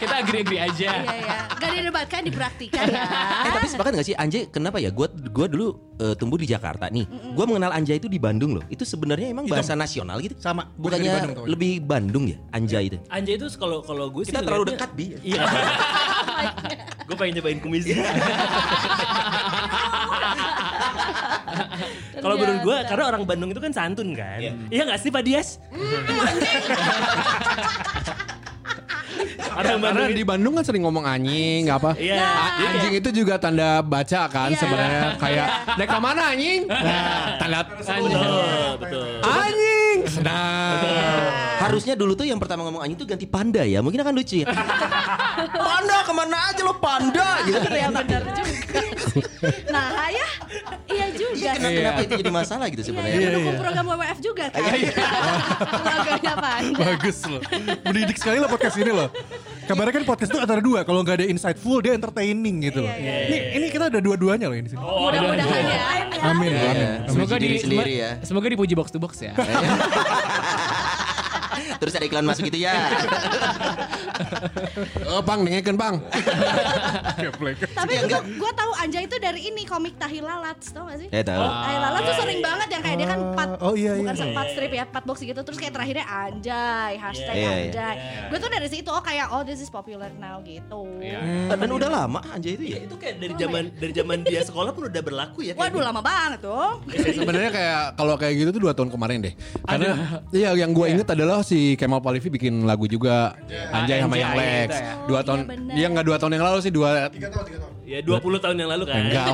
[SPEAKER 3] kita agree-agree aja.
[SPEAKER 1] Iya, iya. Gak didebatkan, dipraktikan ya.
[SPEAKER 6] eh tapi sepakat gak sih Anjay kenapa ya? Gua gua dulu eh, tumbuh di Jakarta nih. Gua mengenal Anjay itu di Bandung loh. Itu sebenarnya emang bahasa nasional gitu.
[SPEAKER 4] Sama, gua Iya. juga
[SPEAKER 6] Bukannya
[SPEAKER 4] di Bandung, kawan.
[SPEAKER 6] lebih Bandung ya Anjay itu.
[SPEAKER 8] Anjay itu kalau kalau gue sih
[SPEAKER 6] Kita terlalu dekat
[SPEAKER 8] ngeliatnya-
[SPEAKER 6] bi.
[SPEAKER 8] Iya. gue pengen cobain kumis. Kalau menurut gue, karena orang Bandung itu kan santun kan. Iya nggak sih Pak Dias?
[SPEAKER 7] Karena, karena di Bandung kan sering ngomong anjing, nggak apa?
[SPEAKER 8] Iya.
[SPEAKER 7] A-
[SPEAKER 8] Jadi
[SPEAKER 7] Anjing itu juga tanda baca kan sebenarnya kayak naik ke mana anjing? Nah, tanda anjing.
[SPEAKER 8] Betul, betul.
[SPEAKER 7] Anjing. Nah. Sedang.
[SPEAKER 6] Harusnya dulu tuh yang pertama ngomong anjing tuh ganti panda ya. Mungkin akan lucu ya. panda kemana aja lo panda gitu.
[SPEAKER 1] Iya benar juga. Nah ya, iya juga.
[SPEAKER 6] Iya kenapa, kenapa itu jadi masalah gitu
[SPEAKER 1] Iya,
[SPEAKER 6] sebenarnya.
[SPEAKER 1] iya, mendukung program WWF juga kan. Keluarganya Panda.
[SPEAKER 4] Bagus loh. Mendidik sekali lah podcast ini loh. Kabarnya kan podcast itu antara dua, kalau nggak ada insightful dia entertaining gitu loh. Ini ini kita ada dua-duanya loh ini sini.
[SPEAKER 1] Mudah-mudahan ya.
[SPEAKER 4] Amin,
[SPEAKER 6] Iya,
[SPEAKER 4] amin.
[SPEAKER 6] iya.
[SPEAKER 4] amin.
[SPEAKER 3] Semoga di
[SPEAKER 6] Sendiri- sendiri ya.
[SPEAKER 3] Semoga dipuji box to box ya.
[SPEAKER 6] Terus ada iklan masuk gitu ya.
[SPEAKER 7] Eh, pang, dengerin pang.
[SPEAKER 1] Tapi gue tahu Anja itu dari ini komik Tahi Lalat, tau gak sih?
[SPEAKER 6] Ya tahu.
[SPEAKER 1] Tahi Lalat tuh sering banget yang kayak dia kan empat,
[SPEAKER 4] oh, iya,
[SPEAKER 1] bukan
[SPEAKER 4] iya.
[SPEAKER 1] empat strip ya, empat box gitu. Terus kayak terakhirnya Anjay, hashtag
[SPEAKER 6] Iya, iya.
[SPEAKER 1] Anjay. Gue tuh dari situ, oh kayak oh this is popular now gitu.
[SPEAKER 6] Dan udah lama anjay itu ya.
[SPEAKER 8] Itu kayak dari zaman dari zaman dia sekolah pun udah berlaku ya.
[SPEAKER 1] Waduh lama banget dong.
[SPEAKER 7] Kan Sebenarnya kayak kalau kayak gitu tuh dua tahun kemarin deh. Karena iya yang gue inget adalah si Kemal Palevi bikin lagu juga Anjay sama
[SPEAKER 3] Anjay
[SPEAKER 7] yang
[SPEAKER 3] gitu
[SPEAKER 7] Lex.
[SPEAKER 3] ya.
[SPEAKER 7] Dua tahun,
[SPEAKER 6] Iya,
[SPEAKER 1] bener.
[SPEAKER 7] dia nggak dua tahun yang lalu sih dua
[SPEAKER 8] Ya 20 tahun yang lalu kan.
[SPEAKER 7] enggak.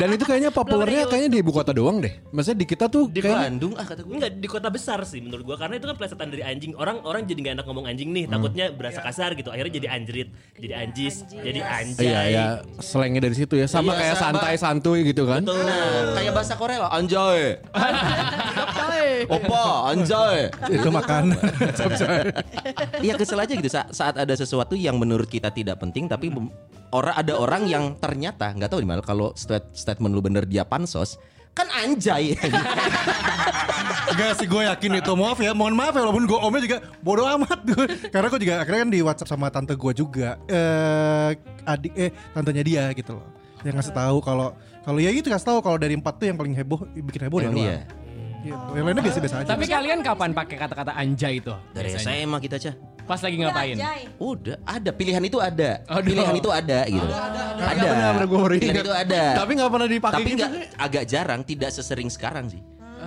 [SPEAKER 7] Dan itu kayaknya populernya kayaknya di ibu kota doang deh. Maksudnya di kita tuh
[SPEAKER 6] Di
[SPEAKER 7] kayaknya
[SPEAKER 6] Bandung ah kata gue.
[SPEAKER 8] Enggak di kota besar sih menurut gua karena itu kan pelesetan dari anjing. Orang orang jadi nggak enak ngomong anjing nih, takutnya berasa kasar gitu. Akhirnya jadi anjrit, jadi Iya, anjis, jadi anjay.
[SPEAKER 7] Iya ya, slangnya dari situ ya. Sama
[SPEAKER 6] Iya,
[SPEAKER 7] kayak
[SPEAKER 6] sama.
[SPEAKER 7] santai santuy gitu kan.
[SPEAKER 6] Nah, kayak bahasa Korea lah, anjay. Opa, anjay.
[SPEAKER 4] Itu makan.
[SPEAKER 6] Iya kesel aja gitu sa- saat ada sesuatu yang menurut kita tidak penting tapi mem- orang ada orang yang ternyata nggak tahu di mana kalau stat- statement lu bener dia pansos kan anjay.
[SPEAKER 4] Enggak sih gue yakin itu maaf ya mohon maaf ya walaupun gue omnya juga bodoh amat gue karena gue juga akhirnya kan di WhatsApp sama tante gue juga eh adik eh tantenya dia gitu loh yang ngasih tahu kalau kalau ya itu kasih tahu kalau dari empat tuh yang paling heboh bikin heboh dia
[SPEAKER 6] Emang
[SPEAKER 4] doang
[SPEAKER 6] iya.
[SPEAKER 4] Gitu. yang lainnya biasa-biasa aja
[SPEAKER 3] Tapi kalian kapan pakai kata-kata anjay itu?
[SPEAKER 6] Dari
[SPEAKER 3] biasanya?
[SPEAKER 6] SMA kita cah.
[SPEAKER 3] Pas lagi ngapain?
[SPEAKER 1] Anjay.
[SPEAKER 6] Udah ada pilihan itu ada.
[SPEAKER 3] Aduh.
[SPEAKER 6] Pilihan itu ada gitu. Ada.
[SPEAKER 7] Nggak pernah gue baru
[SPEAKER 6] Pilihan
[SPEAKER 7] ingat.
[SPEAKER 6] itu ada.
[SPEAKER 7] Iya. Tapi nggak pernah dipakai
[SPEAKER 6] Tapi
[SPEAKER 7] gitu.
[SPEAKER 6] nggak agak jarang, tidak sesering sekarang sih.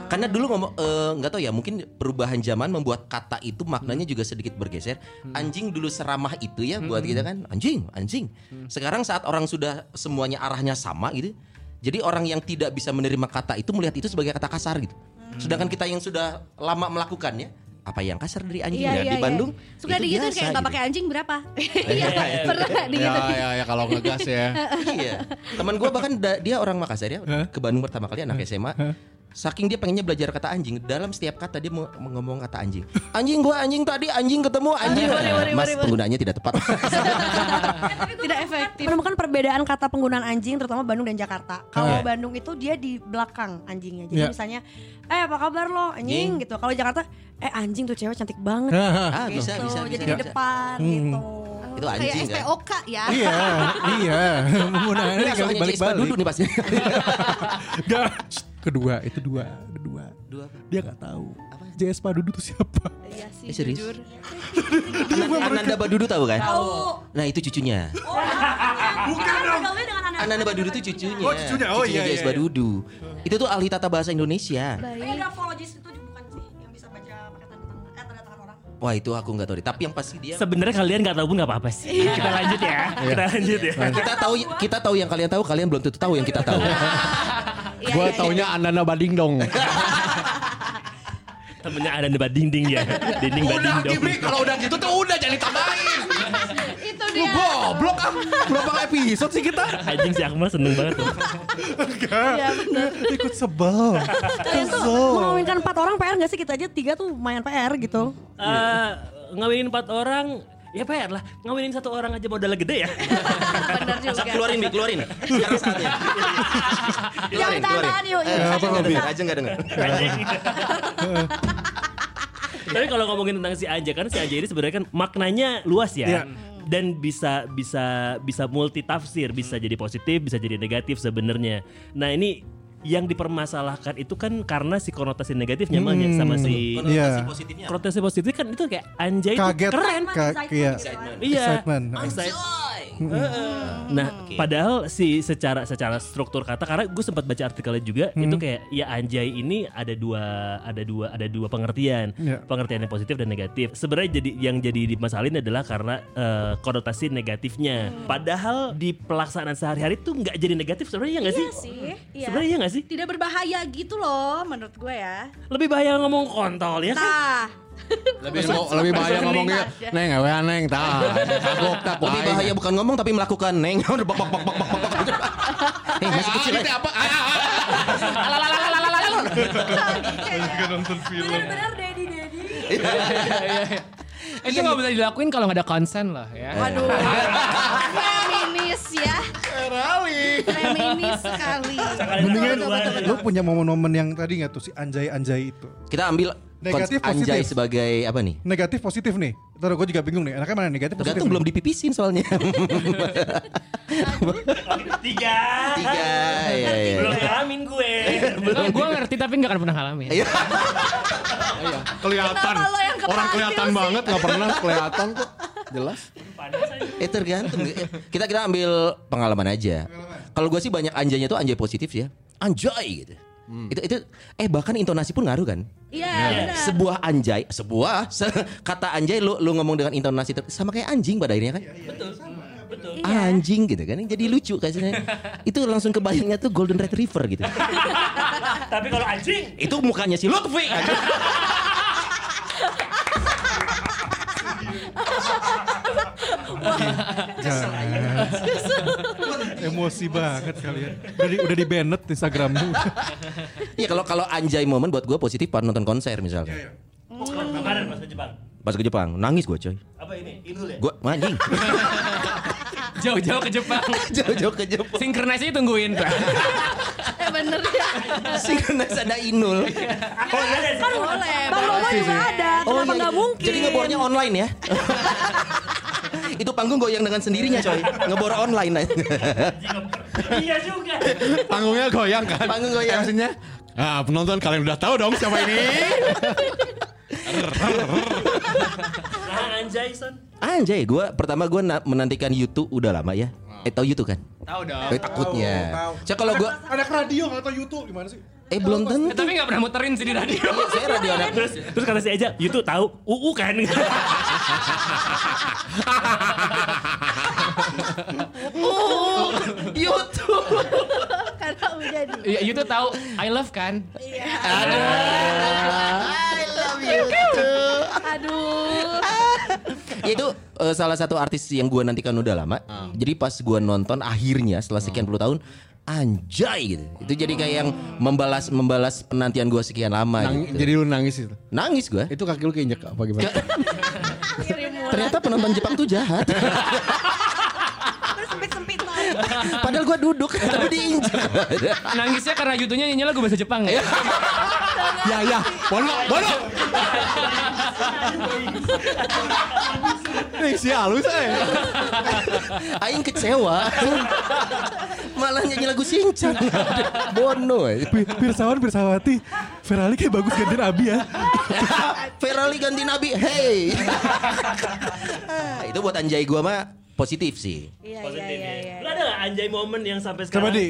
[SPEAKER 6] Karena dulu ngomong eh, nggak tahu ya, mungkin perubahan zaman membuat kata itu maknanya juga sedikit bergeser.
[SPEAKER 1] Hmm.
[SPEAKER 6] Anjing dulu seramah itu ya buat kita kan, anjing, anjing.
[SPEAKER 1] Hmm.
[SPEAKER 6] Sekarang saat orang sudah semuanya arahnya sama gitu, jadi orang yang tidak bisa menerima kata itu melihat itu sebagai kata kasar gitu.
[SPEAKER 1] Hmm.
[SPEAKER 6] Sedangkan kita yang sudah lama melakukannya, apa yang kasar dari anjing ya di Bandung?
[SPEAKER 1] Iya, Suka
[SPEAKER 6] itu
[SPEAKER 1] digituin
[SPEAKER 6] biasa
[SPEAKER 1] kayak nggak
[SPEAKER 6] gitu.
[SPEAKER 1] pakai anjing berapa? Iya pernah nggak
[SPEAKER 7] Ya
[SPEAKER 1] digituin?
[SPEAKER 7] ya ya kalau ngegas ya.
[SPEAKER 6] iya. Teman gue bahkan da- dia orang Makassar ya, ke Bandung pertama kali anak SMA. Saking dia pengennya belajar kata anjing, dalam setiap kata dia mau mau ngomong kata anjing. Anjing gua anjing tadi, anjing ketemu anjing. Mas penggunaannya tidak tepat.
[SPEAKER 1] Tidak efektif.
[SPEAKER 2] menemukan perbedaan kata penggunaan anjing terutama Bandung dan Jakarta. Kalau Bandung itu dia di belakang anjingnya. Jadi
[SPEAKER 4] Iya.
[SPEAKER 2] misalnya eh apa kabar lo anjing gitu. Kalau Jakarta eh anjing tuh cewek cantik banget
[SPEAKER 6] ah, bisa,
[SPEAKER 2] gitu.
[SPEAKER 6] bisa, bisa,
[SPEAKER 2] Jadi di
[SPEAKER 6] bisa.
[SPEAKER 2] depan gitu.
[SPEAKER 6] Itu
[SPEAKER 1] kayak
[SPEAKER 6] anjing kan.
[SPEAKER 1] SPOK ya.
[SPEAKER 4] Iya, iya. Menggunakannya
[SPEAKER 6] Ini
[SPEAKER 4] kali
[SPEAKER 6] soalnya
[SPEAKER 4] balik
[SPEAKER 6] Cispa
[SPEAKER 4] balik.
[SPEAKER 6] duduk nih pasti.
[SPEAKER 4] Gak. Shh, Kedua, itu dua, kedua.
[SPEAKER 6] Dua apa?
[SPEAKER 4] Dia nggak tahu. JS Padudu itu siapa?
[SPEAKER 1] Iya sih,
[SPEAKER 6] Eh, serius?
[SPEAKER 1] jujur.
[SPEAKER 6] Ananda, Ananda Badudu tahu kan?
[SPEAKER 1] Tahu.
[SPEAKER 2] Oh.
[SPEAKER 6] Nah itu cucunya.
[SPEAKER 1] Bukan dong. dengan anak
[SPEAKER 6] Ananda Badudu itu cucunya.
[SPEAKER 4] Oh, cucunya. Oh, iya, iya,
[SPEAKER 6] Jais
[SPEAKER 4] iya.
[SPEAKER 6] Badudu. Itu tuh ahli tata bahasa Indonesia.
[SPEAKER 2] Tapi grafologis itu bukan sih yang bisa baca pakai tanda tangan, eh, tanda tangan orang.
[SPEAKER 6] Wah itu aku nggak tahu deh. Tapi yang pasti dia.
[SPEAKER 8] Sebenarnya kalian nggak tahu pun nggak apa-apa sih. Kita lanjut ya. Kita lanjut ya.
[SPEAKER 6] kita tahu kita tahu yang kalian tahu kalian belum tentu tahu yang kita tahu.
[SPEAKER 1] Iya,
[SPEAKER 7] Gue
[SPEAKER 1] iya, iya.
[SPEAKER 7] taunya Ananda Bading dong.
[SPEAKER 8] Temennya ada debat dinding ya. Dinding bading dong.
[SPEAKER 6] kalau udah gitu tuh udah jangan ditambahin. Iya.
[SPEAKER 1] Itu
[SPEAKER 7] Lu
[SPEAKER 1] dia.
[SPEAKER 7] goblok ah. Berapa episode sih kita?
[SPEAKER 8] Anjing si Akmal seneng banget tuh.
[SPEAKER 1] Iya, benar.
[SPEAKER 4] Ikut sebel.
[SPEAKER 2] Kalian tuh mengawinkan empat orang PR gak sih kita aja tiga tuh lumayan PR gitu.
[SPEAKER 8] Eh, ngawinin empat orang ya PR lah ngawinin satu orang aja modalnya gede ya
[SPEAKER 1] Benar juga.
[SPEAKER 6] Sap, keluarin Bi, keluarin. Sekarang saatnya.
[SPEAKER 1] Jangan tahan-tahan yuk. yuk.
[SPEAKER 6] Aja nggak dengar, aja nggak dengar.
[SPEAKER 7] Iya.
[SPEAKER 8] tapi kalau ngomongin tentang si Anja kan si Anja ini sebenarnya kan maknanya luas
[SPEAKER 4] Iya.
[SPEAKER 8] ya dan bisa bisa bisa multi tafsir bisa jadi positif bisa jadi negatif sebenarnya nah ini yang dipermasalahkan itu kan karena si konotasi negatifnya Malnya, sama
[SPEAKER 4] Iya.
[SPEAKER 8] si
[SPEAKER 6] Konotasi positifnya.
[SPEAKER 8] konotasi positif kan itu kayak Anja itu
[SPEAKER 4] Kaget.
[SPEAKER 8] keren
[SPEAKER 4] Kaget. Iya.
[SPEAKER 8] iya
[SPEAKER 4] Excitement.
[SPEAKER 8] Excite-
[SPEAKER 6] Coy.
[SPEAKER 8] Nah,
[SPEAKER 6] Oke.
[SPEAKER 8] padahal si secara secara struktur kata karena gue sempat baca artikelnya juga itu kayak ya anjay ini ada dua ada dua ada dua pengertian.
[SPEAKER 4] Iya.
[SPEAKER 8] Pengertian yang positif dan negatif. Sebenarnya jadi yang jadi dimasalahin adalah karena eh, konotasi negatifnya. Padahal di pelaksanaan sehari-hari tuh nggak jadi negatif sebenarnya ya nggak
[SPEAKER 1] Iya
[SPEAKER 8] sih?
[SPEAKER 1] sih. Iya.
[SPEAKER 8] Sebenarnya ya nggak sih?
[SPEAKER 1] Tidak berbahaya gitu loh menurut gue ya.
[SPEAKER 8] Lebih bahaya ngomong kontol ya kan?
[SPEAKER 1] Nah,
[SPEAKER 7] Lebih mau- lebih bahaya ngomongnya. Neng, awean neng, tah. Kagok tak
[SPEAKER 6] Lebih bahaya bukan ngomong tapi melakukan neng. Udah bak bak bak bak bak bak. Eh, masih kecil ya.
[SPEAKER 7] apa? Ah, ah, ah.
[SPEAKER 2] Bener-bener daddy daddy.
[SPEAKER 3] Itu Eh, nggak bisa dilakuin kalau nggak ada konsen lah ya.
[SPEAKER 1] waduh. Feminis ya. Feminis sekali.
[SPEAKER 4] Mendingan
[SPEAKER 1] Betul, betul, betul.
[SPEAKER 4] lu punya momen-momen yang tadi nggak tuh si anjay-anjay itu?
[SPEAKER 6] Kita ambil
[SPEAKER 4] Negatif,
[SPEAKER 6] kons- anjay
[SPEAKER 4] positif.
[SPEAKER 6] sebagai apa nih?
[SPEAKER 4] Negatif positif nih. Taruh gue juga bingung nih. Enaknya mana negatif positif?
[SPEAKER 6] Tergantung
[SPEAKER 4] nih?
[SPEAKER 6] belum dipipisin soalnya.
[SPEAKER 8] Tiga.
[SPEAKER 6] Tiga. ya, ya.
[SPEAKER 8] Belum ngalamin gue.
[SPEAKER 3] Nah, gue ngerti tapi nggak akan pernah ngalamin.
[SPEAKER 6] Iya.
[SPEAKER 7] Kelihatan.
[SPEAKER 1] Kenapa lo yang kepanggil
[SPEAKER 7] Orang kelihatan
[SPEAKER 1] sih?
[SPEAKER 7] banget, nggak pernah kelihatan kok. Jelas.
[SPEAKER 6] Eh tergantung. Kita kita ambil pengalaman aja. Kalau gue sih banyak anjaynya tuh anjay positif ya. Anjay gitu. Itu itu eh bahkan intonasi pun ngaruh kan?
[SPEAKER 1] Iya, benar.
[SPEAKER 6] Sebuah anjay, sebuah se- kata anjay lu lu ngomong dengan intonasi ter- sama kayak anjing pada akhirnya kan?
[SPEAKER 1] Iya.
[SPEAKER 6] Anjing gitu kan. Jadi lucu kasihnya. itu langsung kebayangnya tuh golden retriever gitu.
[SPEAKER 8] Tapi kalau anjing
[SPEAKER 6] itu mukanya si Lutfi. anjing.
[SPEAKER 4] Nah. Emosi banget kalian. Udah di, udah di banned Instagram lu.
[SPEAKER 6] Iya kalau kalau anjay momen buat gue positif pas nonton konser
[SPEAKER 4] Iya,
[SPEAKER 6] misalnya.
[SPEAKER 8] kemarin pas ke Jepang.
[SPEAKER 6] Pas ke Jepang nangis gue coy.
[SPEAKER 8] Apa ini? Idul ya?
[SPEAKER 6] Gue anjing.
[SPEAKER 3] Jauh-jauh ke Jepang.
[SPEAKER 6] Jauh-jauh ke Jepang.
[SPEAKER 3] Sinkronisasi tungguin Pak.
[SPEAKER 1] Eh bener ya.
[SPEAKER 6] Sinkronis ada
[SPEAKER 8] Oh,
[SPEAKER 6] Inul.
[SPEAKER 8] iya, iya, iya.
[SPEAKER 1] Boleh.
[SPEAKER 2] Bang Lomo juga ada, kenapa
[SPEAKER 6] iya.
[SPEAKER 2] nggak mungkin?
[SPEAKER 6] Jadi ngebornya online ya. itu panggung goyang dengan sendirinya coy. Ngebor online.
[SPEAKER 8] Iya juga.
[SPEAKER 7] Panggungnya goyang kan?
[SPEAKER 6] Panggung goyang.
[SPEAKER 7] Maksudnya, ah, penonton kalian udah tahu dong siapa ini.
[SPEAKER 8] Nah, anjay son.
[SPEAKER 6] Anjay, gua pertama gua na- menantikan YouTube udah lama ya. Eh tahu YouTube kan?
[SPEAKER 3] Tahu dong.
[SPEAKER 6] Eh, takutnya. Cek kalau gua
[SPEAKER 4] Anak radio nggak tahu YouTube gimana sih?
[SPEAKER 6] eh belum
[SPEAKER 3] Eh,
[SPEAKER 6] tentu.
[SPEAKER 3] tapi nggak pernah muterin sih di radio.
[SPEAKER 6] Iya, saya radio anak.
[SPEAKER 8] Terus terus kata si Eja, "Itu tahu UU kan?"
[SPEAKER 6] YouTube.
[SPEAKER 1] Karena udah di.
[SPEAKER 3] Iya, itu tahu I love kan?
[SPEAKER 1] Aduh.
[SPEAKER 6] itu eh, salah satu artis yang gua nantikan udah lama.
[SPEAKER 7] Hmm.
[SPEAKER 6] Jadi pas gua nonton akhirnya setelah sekian puluh tahun anjay gitu. Itu jadi kayak yang membalas membalas penantian gua sekian lama
[SPEAKER 7] Nang-
[SPEAKER 6] gitu.
[SPEAKER 7] Jadi lu nangis itu.
[SPEAKER 6] Nangis gua.
[SPEAKER 7] Itu kaki lu keinjek apa gimana?
[SPEAKER 6] Ternyata penonton Jepang tuh jahat.
[SPEAKER 2] Terus sempit-sempit lah.
[SPEAKER 6] Padahal gua duduk, tapi diinjak.
[SPEAKER 3] Nangisnya karena jutunya nyanyi lagu bahasa Jepang
[SPEAKER 6] Iya.
[SPEAKER 3] ya.
[SPEAKER 7] ya ya, bono, bono. Nih si halus eh.
[SPEAKER 6] Aing kecewa. Malah nyanyi lagu Sinchan. Bono. eh.
[SPEAKER 4] Pi- Pirsawan Pirsawati Ferali kayak bagus gantiin Abi ya
[SPEAKER 6] Ferali ganti Nabi. Hey. Ah, Itu buat anjay gua mah positif sih.
[SPEAKER 1] Iya, iya,
[SPEAKER 5] Positif
[SPEAKER 1] iya,
[SPEAKER 5] ya.
[SPEAKER 1] iya.
[SPEAKER 5] Lu ada nggak anjay momen yang sampai
[SPEAKER 4] Coba
[SPEAKER 5] sekarang
[SPEAKER 4] di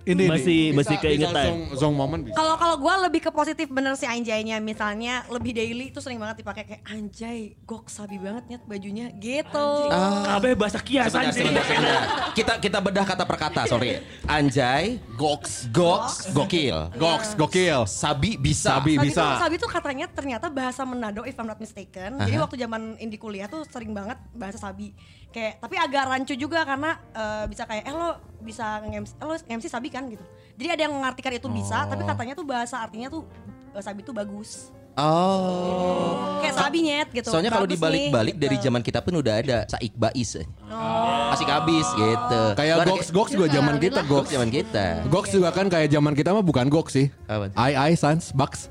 [SPEAKER 4] Ini ini.
[SPEAKER 5] masih masih
[SPEAKER 8] eh.
[SPEAKER 5] keingetan?
[SPEAKER 7] Zong, zong moment bisa.
[SPEAKER 2] Kalau kalau gue lebih ke positif bener sih anjaynya misalnya lebih daily itu sering banget dipakai kayak anjay gok sabi banget nyet bajunya gitu.
[SPEAKER 6] Ah,
[SPEAKER 5] Abe Ah, bahasa kias
[SPEAKER 6] Sebentar,
[SPEAKER 5] anjing.
[SPEAKER 6] sebentar, sebentar. Kita kita bedah kata per kata, sorry. Anjay, goks, goks, gokil.
[SPEAKER 7] Goks, gokil.
[SPEAKER 6] Sabi bisa.
[SPEAKER 7] Sabi
[SPEAKER 2] Sabi
[SPEAKER 7] bisa.
[SPEAKER 2] tuh- sabi tuh katanya ternyata bahasa Manado if I'm not mistaken. Jadi
[SPEAKER 6] Aha.
[SPEAKER 2] waktu zaman Indi kuliah tuh sering banget bahasa sabi. Kayak tapi agak rancu juga karena eh, bisa kayak eh lo bisa nge-MC eh, lo MC sabi kan gitu. Jadi ada yang mengartikan itu bisa tapi katanya tuh bahasa artinya tuh eh, sabi tuh bagus.
[SPEAKER 6] Oh.
[SPEAKER 2] Kayak sabi nyet gitu.
[SPEAKER 6] Soalnya kalau
[SPEAKER 2] Bagus
[SPEAKER 6] dibalik-balik
[SPEAKER 2] nih,
[SPEAKER 6] dari
[SPEAKER 2] gitu.
[SPEAKER 6] zaman kita pun udah ada Saik Bais. eh.
[SPEAKER 2] Oh.
[SPEAKER 6] Asik habis gitu.
[SPEAKER 7] Kayak goks, goks juga zaman kita
[SPEAKER 6] goks
[SPEAKER 7] goks.
[SPEAKER 6] zaman kita.
[SPEAKER 7] Goks juga kan kayak zaman kita mah bukan goks sih.
[SPEAKER 6] Apa?
[SPEAKER 7] Ai ai sans bucks.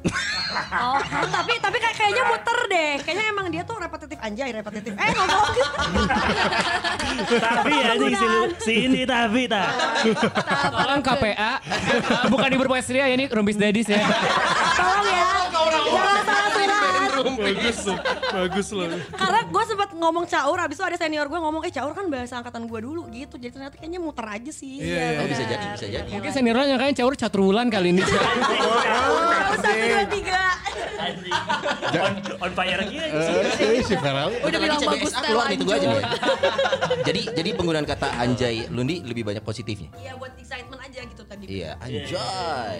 [SPEAKER 2] Oh, tapi tapi kayak kayaknya muter deh. Kayaknya emang dia tuh repetitif anjay, repetitif. Eh ngomong.
[SPEAKER 5] Tapi anjing si, lu- si ini tapi tak.
[SPEAKER 3] Tolong KPA, eh, bukan di berpastria ya ini Rumbis Dadis ya.
[SPEAKER 2] Tolong ya. Jangan salah surat.
[SPEAKER 8] bagus loh, bagus loh.
[SPEAKER 2] Karena gue sempat ngomong caur, abis itu ada senior gue ngomong, eh caur kan bahasa angkatan gue dulu gitu. Jadi ternyata kayaknya muter aja sih. Iya,
[SPEAKER 6] Oh, bisa jadi, bisa jadi.
[SPEAKER 3] Mungkin seniornya kan caur catrulan kali ini.
[SPEAKER 2] Oh, Satu, dua, tiga.
[SPEAKER 5] Anjing. On, on fire lagi.
[SPEAKER 7] si Ferali.
[SPEAKER 6] Udah
[SPEAKER 2] bilang bagus, teh
[SPEAKER 6] keluar gitu gua aja.
[SPEAKER 2] lanjut.
[SPEAKER 6] nih. jadi jadi penggunaan kata anjay Lundi lebih banyak positifnya.
[SPEAKER 2] Iya buat excitement aja gitu tadi.
[SPEAKER 6] Iya, anjay.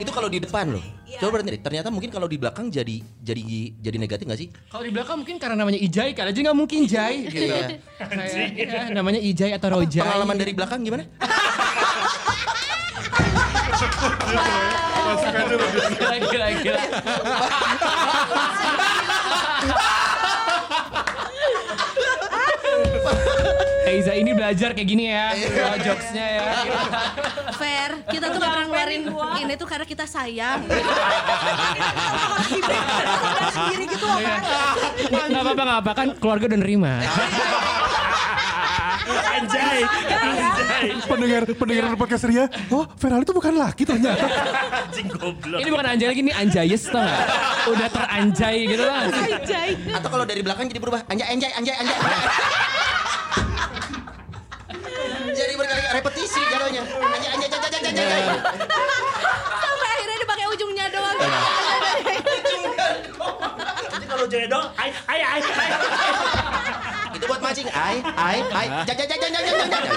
[SPEAKER 6] Itu kalau di depan loh. Coba berarti ternyata mungkin kalau di belakang jadi jadi jadi negatif gak sih?
[SPEAKER 3] Kalau di belakang mungkin karena namanya Ijai, karena aja nggak mungkin Jai gitu.
[SPEAKER 6] Iya.
[SPEAKER 3] Kayak, ya, namanya Ijai atau Rojai.
[SPEAKER 6] Pengalaman dari belakang gimana?
[SPEAKER 3] Gila, gila, gila. Eiza ini belajar kayak gini ya, oh, jokesnya ya.
[SPEAKER 1] Fair, kita tuh gak ngeluarin ini tuh karena kita sayang.
[SPEAKER 2] Sendiri gitu loh kan.
[SPEAKER 3] Gak apa-apa, gak apa-apa kan keluarga udah nerima.
[SPEAKER 5] Eh. Anjay. Anjay.
[SPEAKER 4] Pendengar
[SPEAKER 7] Iya.
[SPEAKER 4] pendengar podcast Ria Oh Ferali itu bukan laki ternyata
[SPEAKER 5] Anjing goblok.
[SPEAKER 3] Ini bukan anjay lagi, ini anjayes tau gak? Udah teranjay gitu lah.
[SPEAKER 2] Anjay.
[SPEAKER 6] Atau kalau dari belakang jadi berubah anjay anjay anjay anjay. jadi berkali repetisi jadinya. Anjay anjay anjay anjay anjay. anjay.
[SPEAKER 1] Sampai akhirnya dipakai ujungnya doang.
[SPEAKER 5] Nanti kalau jodoh, ay ay ay. ay.
[SPEAKER 6] Itu buat mancing. Ai ai ai. Jajay jajay jajay jajay.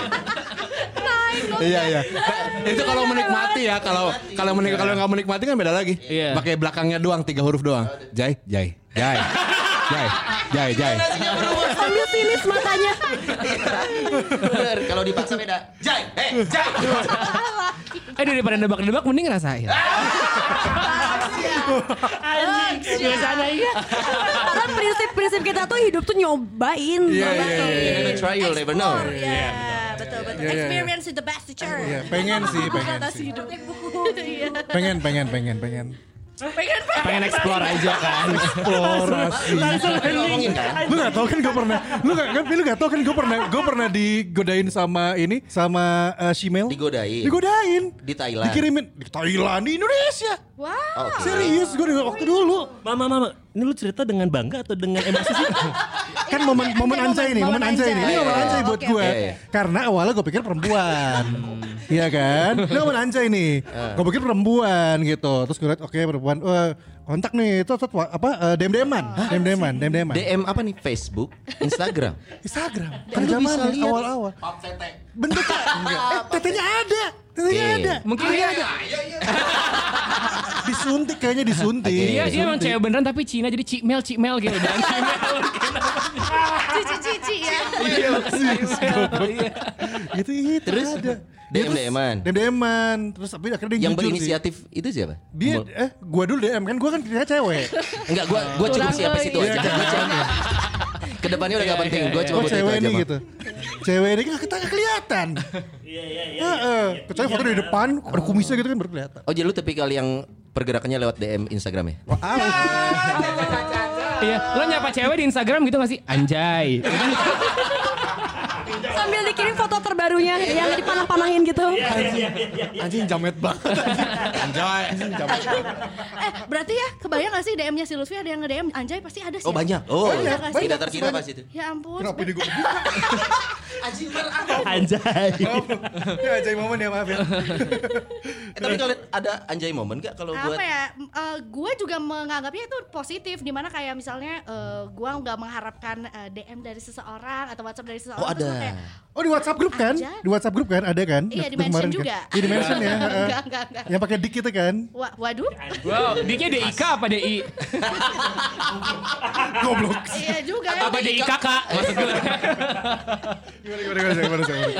[SPEAKER 7] Iya iya. Itu kalau menikmati ya, kalau kalau menik kalau nggak menikmati kan beda lagi.
[SPEAKER 3] Iya.
[SPEAKER 7] Pakai belakangnya doang tiga huruf doang. Jai, jai, jai. Jai, jai, jai.
[SPEAKER 2] Sambil sinis matanya.
[SPEAKER 6] Bener, kalau dipaksa beda. Jai, eh, jai.
[SPEAKER 3] Eh daripada nebak-nebak mending ngerasain.
[SPEAKER 5] Anjing. Gue sana iya.
[SPEAKER 2] Karena prinsip-prinsip kita tuh hidup tuh nyobain.
[SPEAKER 4] Iya iya iya
[SPEAKER 6] Never try you'll never know.
[SPEAKER 1] Iya, betul betul.
[SPEAKER 4] Iya, iya.
[SPEAKER 1] Experience is the best teacher.
[SPEAKER 4] Iya, pengen sih, pengen
[SPEAKER 1] Kata
[SPEAKER 4] sih.
[SPEAKER 1] si hidup. Iya.
[SPEAKER 4] Pengen pengen pengen pengen
[SPEAKER 3] Pengen explore aja kan.
[SPEAKER 4] Eksplorasi
[SPEAKER 5] Langsung
[SPEAKER 6] Ngomongin
[SPEAKER 5] hening.
[SPEAKER 6] kan.
[SPEAKER 4] Lu gak tau kan gue pernah Lu gak, kan, lu gak tau kan gue pernah Gue pernah digodain sama ini Sama eh, Shimel
[SPEAKER 6] Digodain.
[SPEAKER 4] Digodain
[SPEAKER 6] Di Thailand.
[SPEAKER 4] Dikirimin Di Thailand, di Indonesia
[SPEAKER 1] Wow.
[SPEAKER 6] Oh,
[SPEAKER 4] Serius gue dari waktu dulu
[SPEAKER 5] Mama, mama, ini lu cerita dengan bangga atau dengan emosi sih?
[SPEAKER 4] kan momen momen anjay nih, momen anjay nih. Ini momen
[SPEAKER 6] Iya,
[SPEAKER 4] anjay
[SPEAKER 6] iya.
[SPEAKER 4] buat
[SPEAKER 1] Oke,
[SPEAKER 4] gue.
[SPEAKER 6] oke, iya.
[SPEAKER 4] Karena awalnya gue pikir perempuan.
[SPEAKER 6] Hmm.
[SPEAKER 4] Iya kan? Ini momen anjay nih.
[SPEAKER 6] Eh.
[SPEAKER 4] Gue pikir perempuan gitu. Terus gue liat oke perempuan. Eh, kontak nih. Terus terus, apa eh, dem-deman. Dem-deman, dem-deman.
[SPEAKER 6] DM apa nih? Facebook, Instagram.
[SPEAKER 4] Instagram.
[SPEAKER 6] Kan
[SPEAKER 4] Kan
[SPEAKER 6] lu
[SPEAKER 4] zaman
[SPEAKER 6] bisa lihat.
[SPEAKER 4] awal-awal. Bentuk eh tetenya ada. Tetenya
[SPEAKER 6] Iya.
[SPEAKER 4] ada.
[SPEAKER 3] Mungkin dia,
[SPEAKER 4] Disuntik kayaknya disuntik.
[SPEAKER 3] dia, Iya, dia emang cewek beneran tapi Cina jadi Cikmel, Cikmel gitu. Dan Cikmel.
[SPEAKER 1] Cici cici ya.
[SPEAKER 3] Iya, Cikmel. Iya.
[SPEAKER 4] Gitu itu
[SPEAKER 6] Terus?
[SPEAKER 4] ada. Dia terus
[SPEAKER 6] DM-an.
[SPEAKER 4] Dem-deman. Terus tapi akhirnya dia
[SPEAKER 6] Yang
[SPEAKER 4] jujur sih.
[SPEAKER 6] berinisiatif itu siapa?
[SPEAKER 4] Dia eh gua dulu DM kan gua kan kira cewek.
[SPEAKER 6] Enggak, gua gua cukup
[SPEAKER 3] Tulang,
[SPEAKER 6] siapa
[SPEAKER 3] eh,
[SPEAKER 6] situ
[SPEAKER 3] iya.
[SPEAKER 6] aja. Gua cewek. Kedepannya udah gak penting. Gua cuma
[SPEAKER 4] Gua
[SPEAKER 6] butuh itu
[SPEAKER 4] cewek
[SPEAKER 6] aja.
[SPEAKER 4] nih
[SPEAKER 6] Bang.
[SPEAKER 4] gitu. Cewek ini kan kita nggak kelihatan.
[SPEAKER 5] Iya, iya, iya.
[SPEAKER 4] Heeh. Kecuali foto di depan ada kumisnya gitu kan baru kelihatan. Iya,
[SPEAKER 6] Oh, jadi lu tipikal yang pergerakannya lewat DM Instagram ya?
[SPEAKER 4] Wah, ah,
[SPEAKER 3] Iya, lo nyapa cewek di Instagram gitu gak sih? Anjay.
[SPEAKER 7] iya.
[SPEAKER 2] Sambil dikirim foto terbarunya yang dipanah-panahin gitu.
[SPEAKER 7] Iya. Anjing jamet banget. Anjay, anjing jamet.
[SPEAKER 1] Eh, berarti ya kebayang gak sih DM-nya si Lutfi ada yang nge-DM Anjay pasti ada sih.
[SPEAKER 6] Oh
[SPEAKER 1] ya?
[SPEAKER 6] banyak. Oh,
[SPEAKER 1] Banyak, banyak.
[SPEAKER 6] tidak terkira pas itu.
[SPEAKER 1] Ya ampun.
[SPEAKER 4] Kenapa ini gue
[SPEAKER 6] Anjing ah, berapa?
[SPEAKER 8] Anjay.
[SPEAKER 4] Ya ajaib momen ya maaf ya.
[SPEAKER 6] Eh, tapi kalian ada anjay momen gak kalau buat
[SPEAKER 1] apa ya m- eh, gue juga menganggapnya itu positif dimana kayak misalnya eh, gue nggak mengharapkan eh, DM dari seseorang atau WhatsApp dari seseorang
[SPEAKER 6] Oh
[SPEAKER 1] terus gua
[SPEAKER 6] ada.
[SPEAKER 1] kayak
[SPEAKER 4] Oh di WhatsApp grup kan?
[SPEAKER 1] Aja.
[SPEAKER 4] Di WhatsApp grup kan ada kan?
[SPEAKER 1] Iya,
[SPEAKER 4] Dek-
[SPEAKER 1] di
[SPEAKER 4] dek
[SPEAKER 1] mention
[SPEAKER 4] kemarin kan?
[SPEAKER 1] juga.
[SPEAKER 4] Iya di mention ya. heeh.
[SPEAKER 1] enggak enggak enggak
[SPEAKER 4] Yang pakai dik itu kan?
[SPEAKER 1] Wa- waduh
[SPEAKER 3] Wow, diknya DIK apa DI?
[SPEAKER 4] Goblok.
[SPEAKER 1] iya juga ya
[SPEAKER 3] Apa DI kakak? Maksud gue.
[SPEAKER 4] Gimana gimana gimana gimana gimana.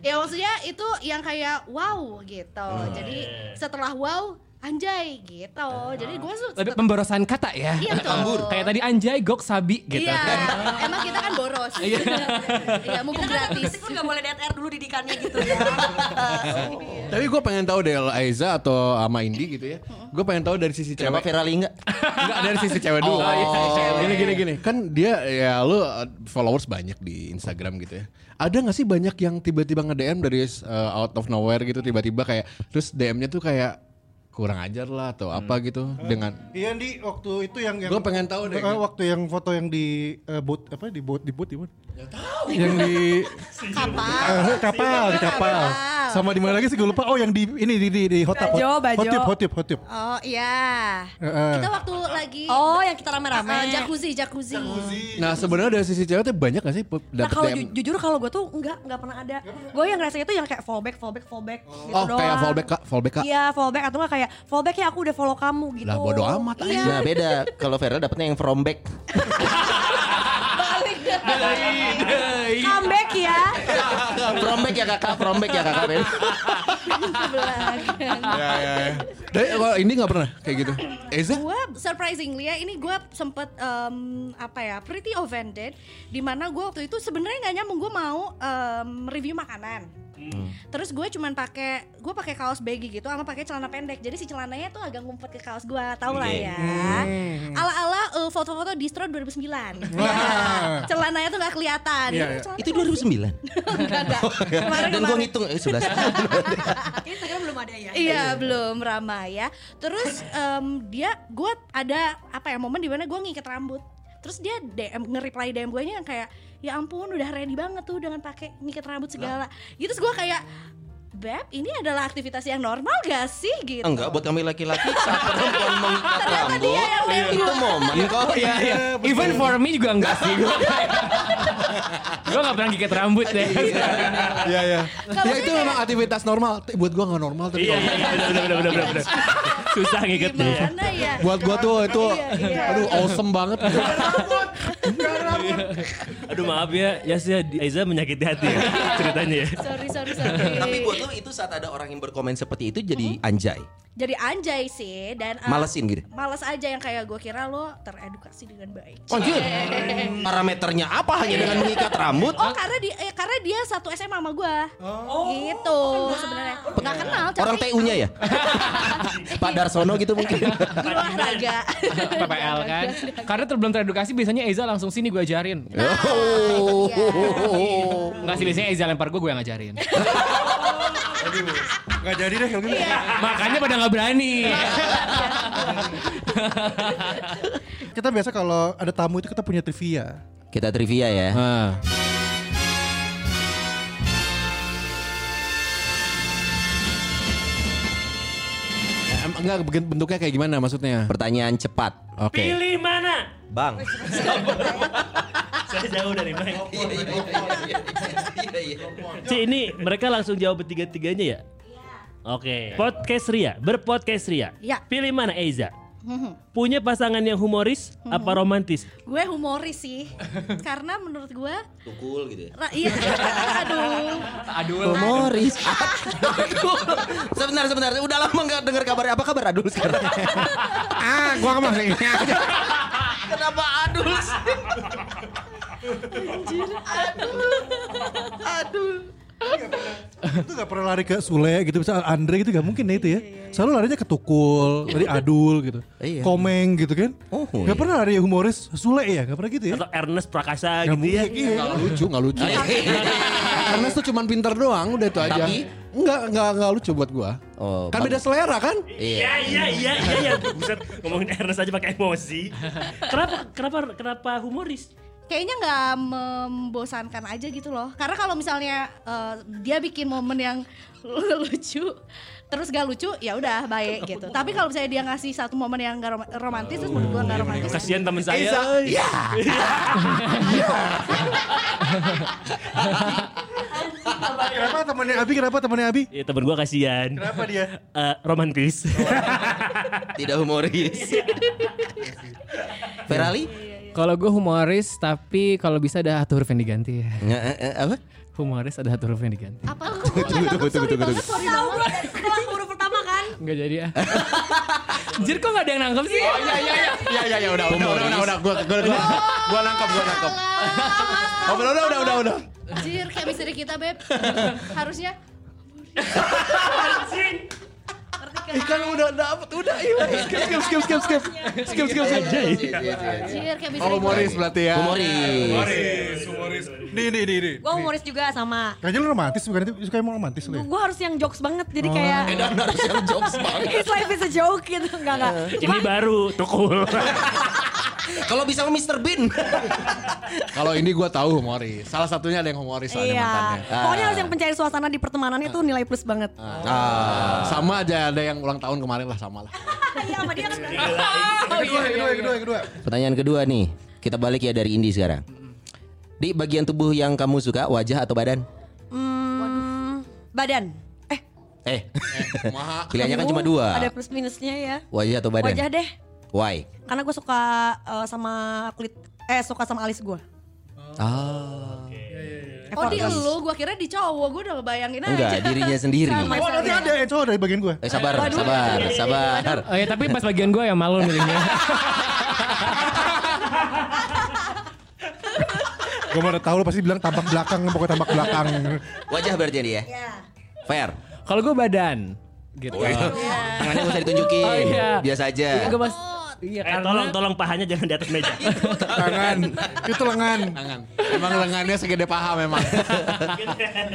[SPEAKER 1] ya maksudnya itu yang kayak wow gitu jadi setelah wow anjay gitu jadi gue tuh
[SPEAKER 3] Lebih pemborosan kata ya.
[SPEAKER 1] Iya, betul. Anggur.
[SPEAKER 3] Kayak tadi anjay, gok, sabi gitu.
[SPEAKER 1] Iya, emang kita kan boros. Iya, mumpung gratis.
[SPEAKER 2] Itu nggak boleh DTR dulu didikannya gitu.
[SPEAKER 7] Tapi gue pengen tahu deh Aiza atau sama Indi gitu ya. Gue pengen tahu dari sisi
[SPEAKER 6] Kenapa
[SPEAKER 7] cewek.
[SPEAKER 6] Vera Lee enggak?
[SPEAKER 7] Enggak dari sisi cewek dulu.
[SPEAKER 6] Oh, iya.
[SPEAKER 7] Gini gini gini. Kan dia ya lu uh, followers banyak di Instagram gitu ya. Ada gak sih banyak yang tiba-tiba nge-DM dari uh, out of nowhere gitu tiba-tiba kayak terus DM-nya tuh kayak kurang ajar lah atau
[SPEAKER 6] Hmm.
[SPEAKER 7] apa gitu dengan
[SPEAKER 4] Iya di waktu itu yang, yang
[SPEAKER 7] Gua pengen tahu deh.
[SPEAKER 4] Eh, Waktu yang foto yang di eh, boat apa di boat di boat di mana? tahu. Yang di
[SPEAKER 1] Kapal.
[SPEAKER 2] Ah,
[SPEAKER 4] eh, kapal di kapal. Sama di mana lagi sih gue lupa. Oh yang di ini di di, di hot hot
[SPEAKER 2] Bajo, Bajo.
[SPEAKER 4] hot tub hot tub hot tub.
[SPEAKER 1] Oh iya.
[SPEAKER 4] Heeh.
[SPEAKER 1] Kita waktu lagi
[SPEAKER 2] Oh, yang kita
[SPEAKER 1] eh,
[SPEAKER 2] rame-rame.
[SPEAKER 1] jacuzzi, jacuzzi.
[SPEAKER 7] Nah, sebenarnya dari sisi cewek tuh banyak gak sih pe-
[SPEAKER 2] Nah
[SPEAKER 7] dapet
[SPEAKER 2] kalau
[SPEAKER 7] DM?
[SPEAKER 2] ju- jujur kalau gue tuh nggak nggak pernah ada. Gue yang ngerasanya tuh yang kayak fallback, fallback, fallback gitu
[SPEAKER 7] Oh,
[SPEAKER 2] doang.
[SPEAKER 7] kayak fallback Kak, fallback Kak.
[SPEAKER 2] Iya fallback atau nggak kayak fallback ya aku udah follow kamu gitu.
[SPEAKER 7] Lah bodo amat
[SPEAKER 1] Iya.
[SPEAKER 7] aja.
[SPEAKER 6] Nah beda. Kalau Vera dapetnya yang from back.
[SPEAKER 2] Balik deh. Comeback ya.
[SPEAKER 6] from back ya kakak, from back ya kakak. Ben. Iya,
[SPEAKER 4] Ya ya. ya.
[SPEAKER 7] Dari kalau ini gak pernah kayak gitu. Eza?
[SPEAKER 1] Gue surprisingly ya ini gue sempet em, apa ya pretty offended dimana gue waktu itu sebenarnya nggak nyambung gue mau em, review makanan
[SPEAKER 4] Hmm.
[SPEAKER 1] terus gue cuman pakai gue pakai kaos baggy gitu sama pakai celana pendek jadi si celananya tuh agak ngumpet ke kaos gue tau lah
[SPEAKER 6] Oke.
[SPEAKER 4] Iya.
[SPEAKER 1] ya ala ala foto-foto distro 2009
[SPEAKER 4] Wah.
[SPEAKER 1] Ya, celananya tuh nggak kelihatan
[SPEAKER 4] Iya, Oh, iya.
[SPEAKER 6] Itu 2009.
[SPEAKER 1] enggak enggak Kemarin-
[SPEAKER 6] Dan gue
[SPEAKER 1] kemarin.
[SPEAKER 6] ngitung eh 11 tahun.
[SPEAKER 2] Instagram belum ada ya.
[SPEAKER 1] Iya belum ramai ya. Terus em, dia gue ada apa ya momen di mana gue ngikat rambut. Terus dia DM nge-reply DM gue nya yang kayak ya ampun udah ready banget tuh dengan pakai ngikat rambut segala. Gitu terus gue kayak Beb, ini adalah aktivitas yang normal gak sih gitu?
[SPEAKER 6] Enggak, buat kami laki-laki saat perempuan mengikat rambut itu momen kok.
[SPEAKER 3] Iya, iya. Even for me juga enggak sih. Gue Gue gak pernah gigit rambut deh.
[SPEAKER 4] Ya ya.
[SPEAKER 7] Ya itu memang aktivitas normal. T- Buat gua gak normal tapi
[SPEAKER 8] Iya,
[SPEAKER 7] normal.
[SPEAKER 8] iya, bener, bener, bener, bener, bener. Susah ngingetnya ya.
[SPEAKER 1] Gimana ya?
[SPEAKER 7] Buat gua tuh itu
[SPEAKER 1] Iya, iya.
[SPEAKER 7] aduh awesome banget. gitu.
[SPEAKER 8] Aduh maaf ya, ya sih Aiza menyakiti hati ya, ceritanya ya.
[SPEAKER 1] Sorry, sorry, sorry.
[SPEAKER 6] Tapi buat lo itu saat ada orang yang berkomen seperti itu jadi anjay.
[SPEAKER 1] Jadi anjay sih dan em,
[SPEAKER 6] Malesin gitu.
[SPEAKER 1] males aja yang kayak gue kira lo teredukasi dengan baik.
[SPEAKER 6] Anjir. Parameternya apa hanya dengan mengikat rambut?
[SPEAKER 1] Oh karena dia eh, karena dia satu SMA sama gua. Oh. iya. Gitu sebenarnya. Nggak kenal tapi
[SPEAKER 6] Orang TU-nya ya? Pak Darsono gitu mungkin.
[SPEAKER 1] guru olahraga.
[SPEAKER 3] PPL kan. Karena ter- belum teredukasi biasanya Eza langsung sini gue ajarin.
[SPEAKER 6] Oh.
[SPEAKER 3] Enggak sih biasanya Eza lempar gue gue yang ngajarin.
[SPEAKER 4] Gak jadi deh kalau gitu.
[SPEAKER 2] Iya.
[SPEAKER 3] Makanya pada nggak berani.
[SPEAKER 4] Kita biasa kalau ada tamu itu kita punya trivia.
[SPEAKER 6] Kita trivia ya.
[SPEAKER 7] Nah, Em, enggak bentuk- bentuknya kayak gimana maksudnya?
[SPEAKER 6] Pertanyaan cepat.
[SPEAKER 7] Oke.
[SPEAKER 8] Pilih mana?
[SPEAKER 6] Bang.
[SPEAKER 8] Saya jauh dari mic.
[SPEAKER 6] Iya, iya.
[SPEAKER 8] Ci, ini mereka langsung jawab bertiga-tiganya ya? Oke. Podcast Ria, berpodcast Ria.
[SPEAKER 1] Iya.
[SPEAKER 8] Pilih mana Eiza? Punya pasangan yang humoris apa romantis?
[SPEAKER 1] gue humoris sih. Karena menurut gua
[SPEAKER 6] Tukul gitu ya.
[SPEAKER 1] ra- iya aduh.
[SPEAKER 3] Aduh.
[SPEAKER 6] Humoris. Adul. kan. sebentar, sebentar. Udah lama nggak dengar kabarnya. Apa kabar Adul sekarang?
[SPEAKER 7] Ah, gua enggak
[SPEAKER 6] Kenapa Adul sih? Adul. Adul.
[SPEAKER 4] itu gak pernah lari ke Sule gitu bisa Andre gitu gak mungkin
[SPEAKER 2] Iya,
[SPEAKER 4] ya itu ya selalu larinya ke Tukul tadi Adul gitu
[SPEAKER 6] Iya.
[SPEAKER 4] Komeng gitu kan
[SPEAKER 6] Oh,
[SPEAKER 4] gak
[SPEAKER 6] iya.
[SPEAKER 4] pernah lari yang humoris Sule ya gak pernah gitu ya
[SPEAKER 8] atau Ernest Prakasa
[SPEAKER 4] Gak
[SPEAKER 8] gitu ya
[SPEAKER 4] mungkin, iya.
[SPEAKER 7] Gak lucu, gak lucu. Ernest tuh cuman pinter doang, udah itu aja.
[SPEAKER 6] Tapi-
[SPEAKER 7] Enggak, enggak, enggak lucu buat gua.
[SPEAKER 6] Oh,
[SPEAKER 7] Kan
[SPEAKER 6] bang-
[SPEAKER 7] beda selera kan?
[SPEAKER 6] Iya.
[SPEAKER 8] Ya iya iya iya ya. Buset ngomongin Ernest aja pakai emosi. Kenapa kenapa kenapa humoris?
[SPEAKER 1] kayaknya nggak membosankan aja gitu loh karena kalau misalnya eh, dia bikin momen yang lucu terus gak lucu ya udah baik gitu tapi kalau misalnya dia ngasih satu momen yang gak rom- romantis terus menurut gua gak romantis
[SPEAKER 8] Kasihan teman
[SPEAKER 6] Eza,
[SPEAKER 8] saya.
[SPEAKER 6] ya.
[SPEAKER 4] kenapa temannya Abi kenapa temannya Abi
[SPEAKER 8] Ya temen gua kasihan.
[SPEAKER 4] kenapa dia
[SPEAKER 8] Eh, romantis.
[SPEAKER 6] Tidak humoris. Ferali?
[SPEAKER 3] Kalau gue humoris tapi kalau bisa ada satu huruf yang diganti ya.
[SPEAKER 6] Nge- eh, eh, apa?
[SPEAKER 3] Humoris ada satu huruf yang diganti.
[SPEAKER 1] apa aku nggak tahu sorry banget sorry banget
[SPEAKER 2] Setelah huruf pertama kan
[SPEAKER 1] Iya.
[SPEAKER 3] Enggak jadi ah. Anjir kok gak ada yang nangkep sih?
[SPEAKER 7] Iya, iya, iya, udah, udah, udah, udah, udah, gua, gua, gua, gua nangkep, gua nangkep. Oh, udah, udah, udah, udah, udah.
[SPEAKER 1] Anjir kayak misteri kita beb harusnya
[SPEAKER 7] Ih, kan udah dapet, udah, iya, skip, skip, skip, skip, skip, skip, skip, skip.
[SPEAKER 1] anjir kayak misteri
[SPEAKER 7] Oh, humoris
[SPEAKER 1] kita.
[SPEAKER 7] berarti ya.
[SPEAKER 6] iya. Humoris.
[SPEAKER 4] nih nih nih nih
[SPEAKER 2] Gue humoris juga sama
[SPEAKER 4] kayaknya lu romantis bukan itu suka yang romantis lu ya
[SPEAKER 2] Gue harus yang jokes banget
[SPEAKER 7] Oh,
[SPEAKER 2] jadi kayak
[SPEAKER 6] Dan harus yang jokes banget.
[SPEAKER 2] It's life is a joke gitu Enggak enggak Cuma
[SPEAKER 8] Ini baru tukul.
[SPEAKER 6] Kalau bisa sama Mr. Bean.
[SPEAKER 7] Kalau ini gua tahu humoris. Salah satunya ada yang humoris soalnya
[SPEAKER 2] Iya
[SPEAKER 7] mantannya.
[SPEAKER 6] Ah.
[SPEAKER 2] Pokoknya harus yang pencari suasana di pertemanan itu nilai plus banget
[SPEAKER 7] Ah, sama aja ada yang ulang tahun kemarin lah sama lah.
[SPEAKER 2] Iya sama dia kan
[SPEAKER 4] kedua yang kedua yang kedua yang kedua
[SPEAKER 6] Pertanyaan kedua nih. Kita balik ya dari Indi sekarang. Di bagian tubuh yang kamu suka, wajah atau badan?
[SPEAKER 2] Hmm, Badan Eh
[SPEAKER 6] Eh,
[SPEAKER 7] Kumaha?
[SPEAKER 6] pilihannya kan
[SPEAKER 2] aduh,
[SPEAKER 6] cuma dua.
[SPEAKER 2] Ada plus minusnya ya
[SPEAKER 6] Wajah atau badan?
[SPEAKER 2] Wajah deh
[SPEAKER 6] Why?
[SPEAKER 2] Karena gue suka eh, sama kulit Eh suka sama alis gue
[SPEAKER 6] Ah,
[SPEAKER 1] oh di lu gua kira di cowok gua udah bayangin aja
[SPEAKER 6] Ah, enggak dirinya sendiri.
[SPEAKER 1] Sama.
[SPEAKER 4] oh nanti ada yang cowok dari bagian gua
[SPEAKER 6] Eh, sabar, sabar, sabar.
[SPEAKER 3] Oh ya tapi pas bagian gue yang malu ya. milihnya.
[SPEAKER 4] gua mana tahu lu pasti bilang tampak belakang pokoknya tampak belakang
[SPEAKER 6] Wajah berarti dia. Fair.
[SPEAKER 3] Kalau gue badan gitu.
[SPEAKER 6] Tangannya gak usah ditunjukin.
[SPEAKER 3] Oh, iya.
[SPEAKER 6] Biasa aja.
[SPEAKER 3] Iya, gua pas- Iya,
[SPEAKER 8] Eh, tolong tolong pahanya jangan di atas meja.
[SPEAKER 4] tangan itu lengan
[SPEAKER 7] Tangan. Emang lengannya segede paha memang.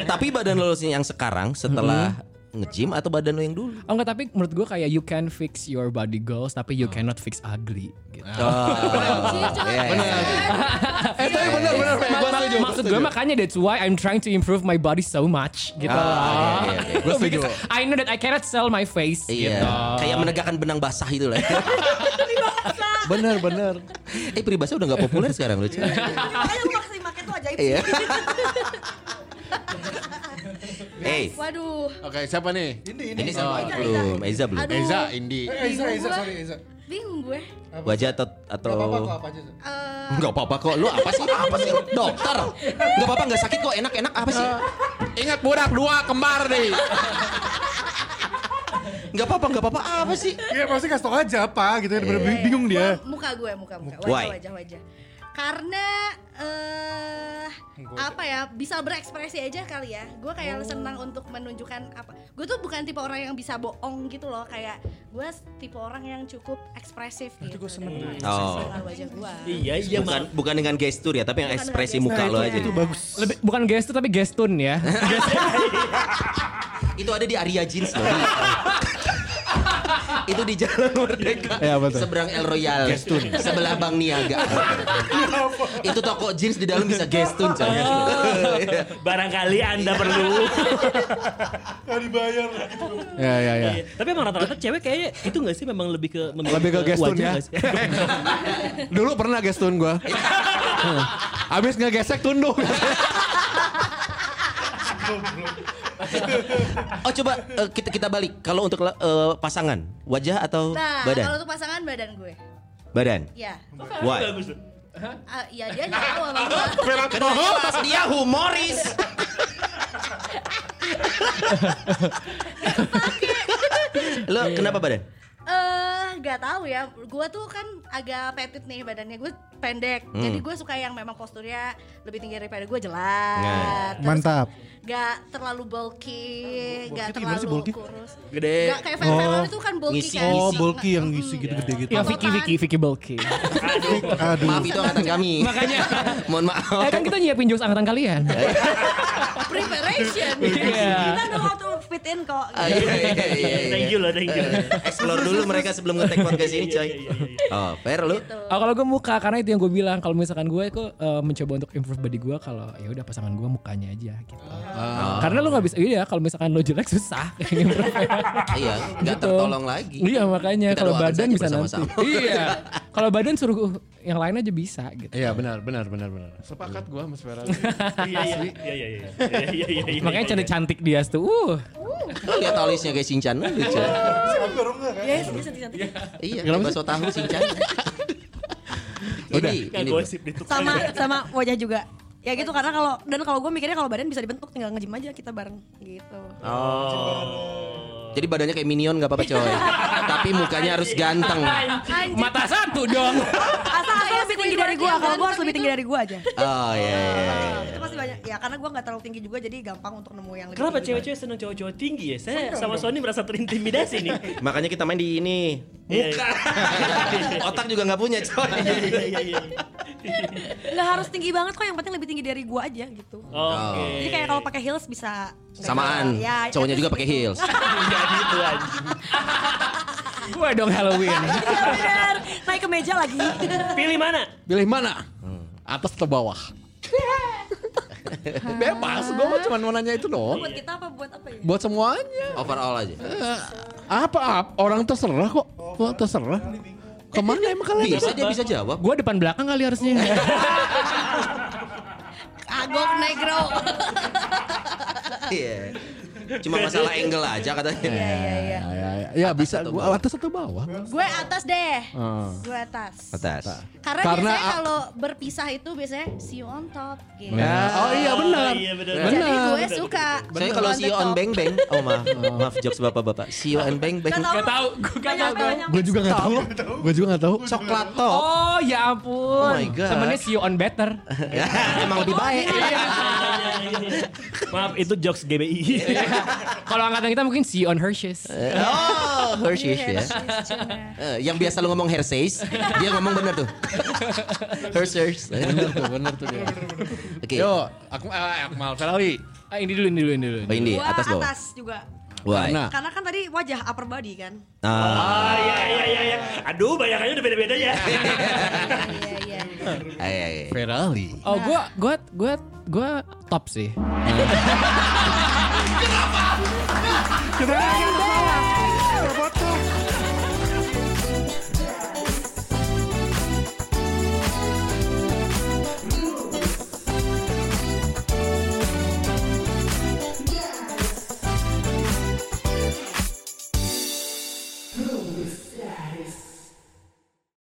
[SPEAKER 6] Tapi badan lo sih yang sekarang setelah
[SPEAKER 3] Mm-hmm.
[SPEAKER 6] nge-gym atau badan lo yang dulu?
[SPEAKER 3] Oh enggak, tapi menurut gue kayak you can fix your body goals tapi you cannot fix ugly gitu.
[SPEAKER 6] Eh, Oh, Iya, iya.
[SPEAKER 7] eh tapi bener bener bener. Gua
[SPEAKER 3] Ma-
[SPEAKER 7] setuju.
[SPEAKER 3] maksud gue makanya that's why I'm trying to improve my body so much gitu.
[SPEAKER 6] Ah, iya, iya, iya.
[SPEAKER 7] Gua setuju.
[SPEAKER 3] Because I know that I cannot sell my face
[SPEAKER 6] Iya,
[SPEAKER 3] gitu.
[SPEAKER 6] kayak menegakkan benang basah itu lah.
[SPEAKER 7] Bener bener.
[SPEAKER 6] eh peribahasa udah gak populer sekarang lucu.
[SPEAKER 2] Makanya gue masih makin tuh ajaib
[SPEAKER 6] Iya. Eh,
[SPEAKER 1] waduh
[SPEAKER 7] Oke siapa nih?
[SPEAKER 3] Oh.
[SPEAKER 6] ini sama belum, Eza belum.
[SPEAKER 1] Aduh.
[SPEAKER 7] Eza, Indi.
[SPEAKER 4] Eza Eza eh, sorry Eza
[SPEAKER 1] bingung gue
[SPEAKER 6] Wajah atau atau
[SPEAKER 4] aja
[SPEAKER 1] Eh,
[SPEAKER 6] Enggak apa-apa kok. Lu apa sih? Apa sih? Dokter. Enggak apa-apa, enggak sakit kok. Enak-enak apa sih?
[SPEAKER 7] Ingat budak dua kembar nih.
[SPEAKER 6] Enggak apa-apa, enggak apa-apa. Apa sih?
[SPEAKER 4] Iya pasti kasih tau aja apa gitu bener
[SPEAKER 1] Iya.
[SPEAKER 4] -bener bingung dia
[SPEAKER 1] Gua- muka gue muka muka
[SPEAKER 6] Why?
[SPEAKER 1] wajah wajah wajah karena eh apa ya bisa berekspresi aja kali ya gue kayak
[SPEAKER 4] Oh.
[SPEAKER 1] senang untuk menunjukkan apa gue tuh bukan tipe orang yang bisa bohong gitu loh kayak gue tipe orang yang cukup ekspresif gitu gue seneng
[SPEAKER 6] Oh.
[SPEAKER 1] wajah gue
[SPEAKER 8] iya iya
[SPEAKER 6] Bukan
[SPEAKER 8] Mak.
[SPEAKER 6] bukan dengan gestur ya, tapi yang
[SPEAKER 1] Bukan dengan
[SPEAKER 6] ekspresi
[SPEAKER 1] gestur. Nah,
[SPEAKER 6] muka lo aja.
[SPEAKER 4] Nah, itu bagus
[SPEAKER 3] Lebih bukan gestur tapi gestun ya.
[SPEAKER 6] Itu ada di Arya Jeans loh. itu di Jalan Merdeka.
[SPEAKER 7] Iya, betul.
[SPEAKER 6] Seberang El Royal. Sebelah Bang Niaga.
[SPEAKER 7] Iya,
[SPEAKER 6] itu toko jeans di dalam bisa gestun coy.
[SPEAKER 7] Iya.
[SPEAKER 8] Barangkali Anda perlu.
[SPEAKER 4] Gak dibayar
[SPEAKER 7] Ya ya ya.
[SPEAKER 8] Iya. Tapi emang rata-rata cewek kayaknya itu gak sih memang lebih ke memilih
[SPEAKER 7] Lebih ke gestun
[SPEAKER 8] wajah
[SPEAKER 7] ya.
[SPEAKER 8] nggak sih?
[SPEAKER 7] Dulu pernah gestun gua. Abis ngegesek tunduk.
[SPEAKER 6] Oh coba eh, kita kita balik. Kalau untuk eh, pasangan, wajah atau
[SPEAKER 1] nah kalau
[SPEAKER 6] badan?
[SPEAKER 1] tuh pasangan badan gue
[SPEAKER 6] Badan.
[SPEAKER 1] ya
[SPEAKER 6] Why?
[SPEAKER 1] Ah, ya dia jauh sama gue
[SPEAKER 6] Kenapa pas dia humoris? Lo kenapa badan?
[SPEAKER 1] Eh, nggak tahu ya. Gua tuh kan agak petit nih badannya. Gue
[SPEAKER 6] Hmm. Nah.
[SPEAKER 1] pendek. Jadi gue suka yang memang posturnya lebih tinggi daripada gue jelas. Terus
[SPEAKER 4] Mantap
[SPEAKER 1] Gak terlalu bulky, gak
[SPEAKER 4] itu
[SPEAKER 1] terlalu
[SPEAKER 4] gimana sih bulky?
[SPEAKER 1] kurus.
[SPEAKER 6] Gede.
[SPEAKER 1] Gak kayak fan
[SPEAKER 4] Oh.
[SPEAKER 1] itu kan bulky
[SPEAKER 6] Ngisi,
[SPEAKER 1] kan.
[SPEAKER 4] Oh,
[SPEAKER 6] Isi.
[SPEAKER 4] bulky yang isi gitu gede gitu.
[SPEAKER 1] Ya,
[SPEAKER 3] Ya Vicky Vicky Vicky Bulky.
[SPEAKER 4] Aduh.
[SPEAKER 6] Maaf itu angkatan kami.
[SPEAKER 3] Makanya.
[SPEAKER 6] Mohon maaf.
[SPEAKER 3] Eh kan kita nyiapin jokes angkatan kalian.
[SPEAKER 1] Nah, Preparation.
[SPEAKER 3] Iya.
[SPEAKER 2] Kita udah waktu fit in kok.
[SPEAKER 6] Ah, iya, iya, iya, iya.
[SPEAKER 8] Thank you loh, thank you.
[SPEAKER 6] Explore dulu mereka sebelum ngetek podcast ini,
[SPEAKER 3] Iya,
[SPEAKER 6] coy. Oh, fair lu.
[SPEAKER 3] Oh, kalau gue muka karena itu yang gue bilang kalau misalkan gue itu eh, mencoba untuk improve body gue kalau ya udah pasangan gue mukanya aja gitu.
[SPEAKER 6] Ah.
[SPEAKER 3] Karena lu nggak bisa iya kalau misalkan lo jelek susah.
[SPEAKER 6] Iya, nggak
[SPEAKER 3] Gitu.
[SPEAKER 6] tertolong lagi.
[SPEAKER 3] iya makanya
[SPEAKER 6] Kita
[SPEAKER 3] kalau
[SPEAKER 6] doakan
[SPEAKER 3] badan
[SPEAKER 6] saja
[SPEAKER 3] bisa nanti.
[SPEAKER 6] bersama-sama.
[SPEAKER 3] iya. Kalau badan suruh uh, yang lain aja bisa gitu.
[SPEAKER 7] Iya benar benar benar benar. Sepakat gua sama Sfera.
[SPEAKER 8] Iya, iya, iya, iya, iya, iya, iya, iya, iya.
[SPEAKER 3] Makanya cantik-cantik dia tuh. Uh.
[SPEAKER 6] Lu lihat alisnya kayak Shinchan lucu.
[SPEAKER 2] Ya, sedih sedih sedih.
[SPEAKER 6] Iya,
[SPEAKER 7] Kenapa
[SPEAKER 6] bakso tahu Shinchan.
[SPEAKER 7] Udah.
[SPEAKER 6] Ini,
[SPEAKER 8] Nggak
[SPEAKER 6] ini
[SPEAKER 8] gosip di tukang.
[SPEAKER 2] Sama sama wajah juga. Ya gitu karena kalau dan kalau gue mikirnya kalau badan bisa dibentuk tinggal nge-gym aja kita bareng gitu.
[SPEAKER 8] Oh.
[SPEAKER 6] Jadi badannya kayak minion nggak apa-apa coy. Tapi mukanya harus ganteng.
[SPEAKER 3] Mata satu dong.
[SPEAKER 2] Asal asal lebih tinggi dari gue, kalau gue harus lebih tinggi dari gue aja.
[SPEAKER 6] Oh iya. iya, iya.
[SPEAKER 2] Itu pasti banyak. Ya karena gue nggak terlalu tinggi juga jadi gampang untuk nemu yang lebih.
[SPEAKER 8] Kenapa
[SPEAKER 2] tinggi.
[SPEAKER 8] cewek-cewek seneng cowok-cowok tinggi ya? Saya sama Sony merasa terintimidasi nih.
[SPEAKER 6] Makanya kita main di ini.
[SPEAKER 8] Iya,
[SPEAKER 6] Muka. Otak juga nggak punya coy.
[SPEAKER 8] Iya, iya, iya, iya.
[SPEAKER 2] Nggak harus tinggi banget kok, yang penting lebih tinggi dari gue aja gitu.
[SPEAKER 8] Oke.
[SPEAKER 2] Jadi kayak kalau pakai heels bisa
[SPEAKER 6] Iya, Samaan.
[SPEAKER 2] Ya,
[SPEAKER 6] Cowoknya juga pakai heels.
[SPEAKER 8] jadi itu aja.
[SPEAKER 3] Gue dong Halloween.
[SPEAKER 2] Iya bener. Naik ke meja lagi.
[SPEAKER 8] Pilih mana?
[SPEAKER 7] Pilih mana? Atas atau bawah? Bebas, gue mau cuma mau nanya itu doang.
[SPEAKER 2] buat kita apa buat apa ya?
[SPEAKER 7] Buat semuanya.
[SPEAKER 6] Overall aja.
[SPEAKER 7] Eh, Apa, apa? Orang terserah kok. Wah, terserah. Kemana emang kalian?
[SPEAKER 6] Bisa dia bisa jawab.
[SPEAKER 3] Gue depan belakang kali harusnya.
[SPEAKER 1] Kagok negro.
[SPEAKER 6] Iya. Cuma masalah angle aja katanya.
[SPEAKER 1] Iya, iya.
[SPEAKER 7] Ya, ya, ya. Ya, bisa
[SPEAKER 6] atau
[SPEAKER 7] gua
[SPEAKER 6] bawah?
[SPEAKER 7] atas atau bawah.
[SPEAKER 1] Gue atas deh.
[SPEAKER 7] Ah.
[SPEAKER 1] Gue atas.
[SPEAKER 6] Atas.
[SPEAKER 1] Karena,
[SPEAKER 7] Karena
[SPEAKER 1] biasanya
[SPEAKER 7] a-
[SPEAKER 1] kalau berpisah itu biasanya see you on top gitu.
[SPEAKER 7] Ya. Oh iya benar.
[SPEAKER 8] Oh, iya, benar.
[SPEAKER 7] Benar.
[SPEAKER 1] Jadi gue suka.
[SPEAKER 6] Nah. Saya kalau
[SPEAKER 1] the
[SPEAKER 6] si on
[SPEAKER 1] top.
[SPEAKER 6] beng beng, oh maaf, maaf jokes bapak-bapak. Si on beng beng,
[SPEAKER 3] Gak tau, gue gak tau tuh.
[SPEAKER 7] Gue juga gak tahu. Gue juga gak tahu.
[SPEAKER 6] coklat top.
[SPEAKER 3] Oh ya ampun.
[SPEAKER 6] Oh my God.
[SPEAKER 3] Temennya see you on better.
[SPEAKER 6] Ya, emang lebih baik.
[SPEAKER 8] Maaf, itu jokes GBI.
[SPEAKER 3] Iya. Kalau angkatan kita mungkin see you on Hershey's.
[SPEAKER 6] Oh, Hershey's ya.
[SPEAKER 1] Yes, yes, Jonah.
[SPEAKER 6] Eh, yang biasa lu ngomong Hershey's, dia ngomong bener tuh. Hershey's.
[SPEAKER 7] Bener tuh, bener tuh dia.
[SPEAKER 6] Oke.
[SPEAKER 7] Yo, aku eh, Akmal Ferrari.
[SPEAKER 3] Ah, ini dulu, ini dulu, ini dulu.
[SPEAKER 6] Oh ini
[SPEAKER 2] Gua
[SPEAKER 6] atas bawah. Ah.
[SPEAKER 2] atas juga.
[SPEAKER 6] Wah.
[SPEAKER 7] Karena-
[SPEAKER 2] Karena kan tadi wajah upper body kan.
[SPEAKER 6] Ah,
[SPEAKER 8] Ah, iya, iya, iya, iya. Aduh, bayangannya udah beda-beda ya.
[SPEAKER 1] Iya, iya.
[SPEAKER 6] iya, iya.
[SPEAKER 7] Ferrari.
[SPEAKER 3] Oh gue, gue, gue, gue top sih.
[SPEAKER 7] Kenapa?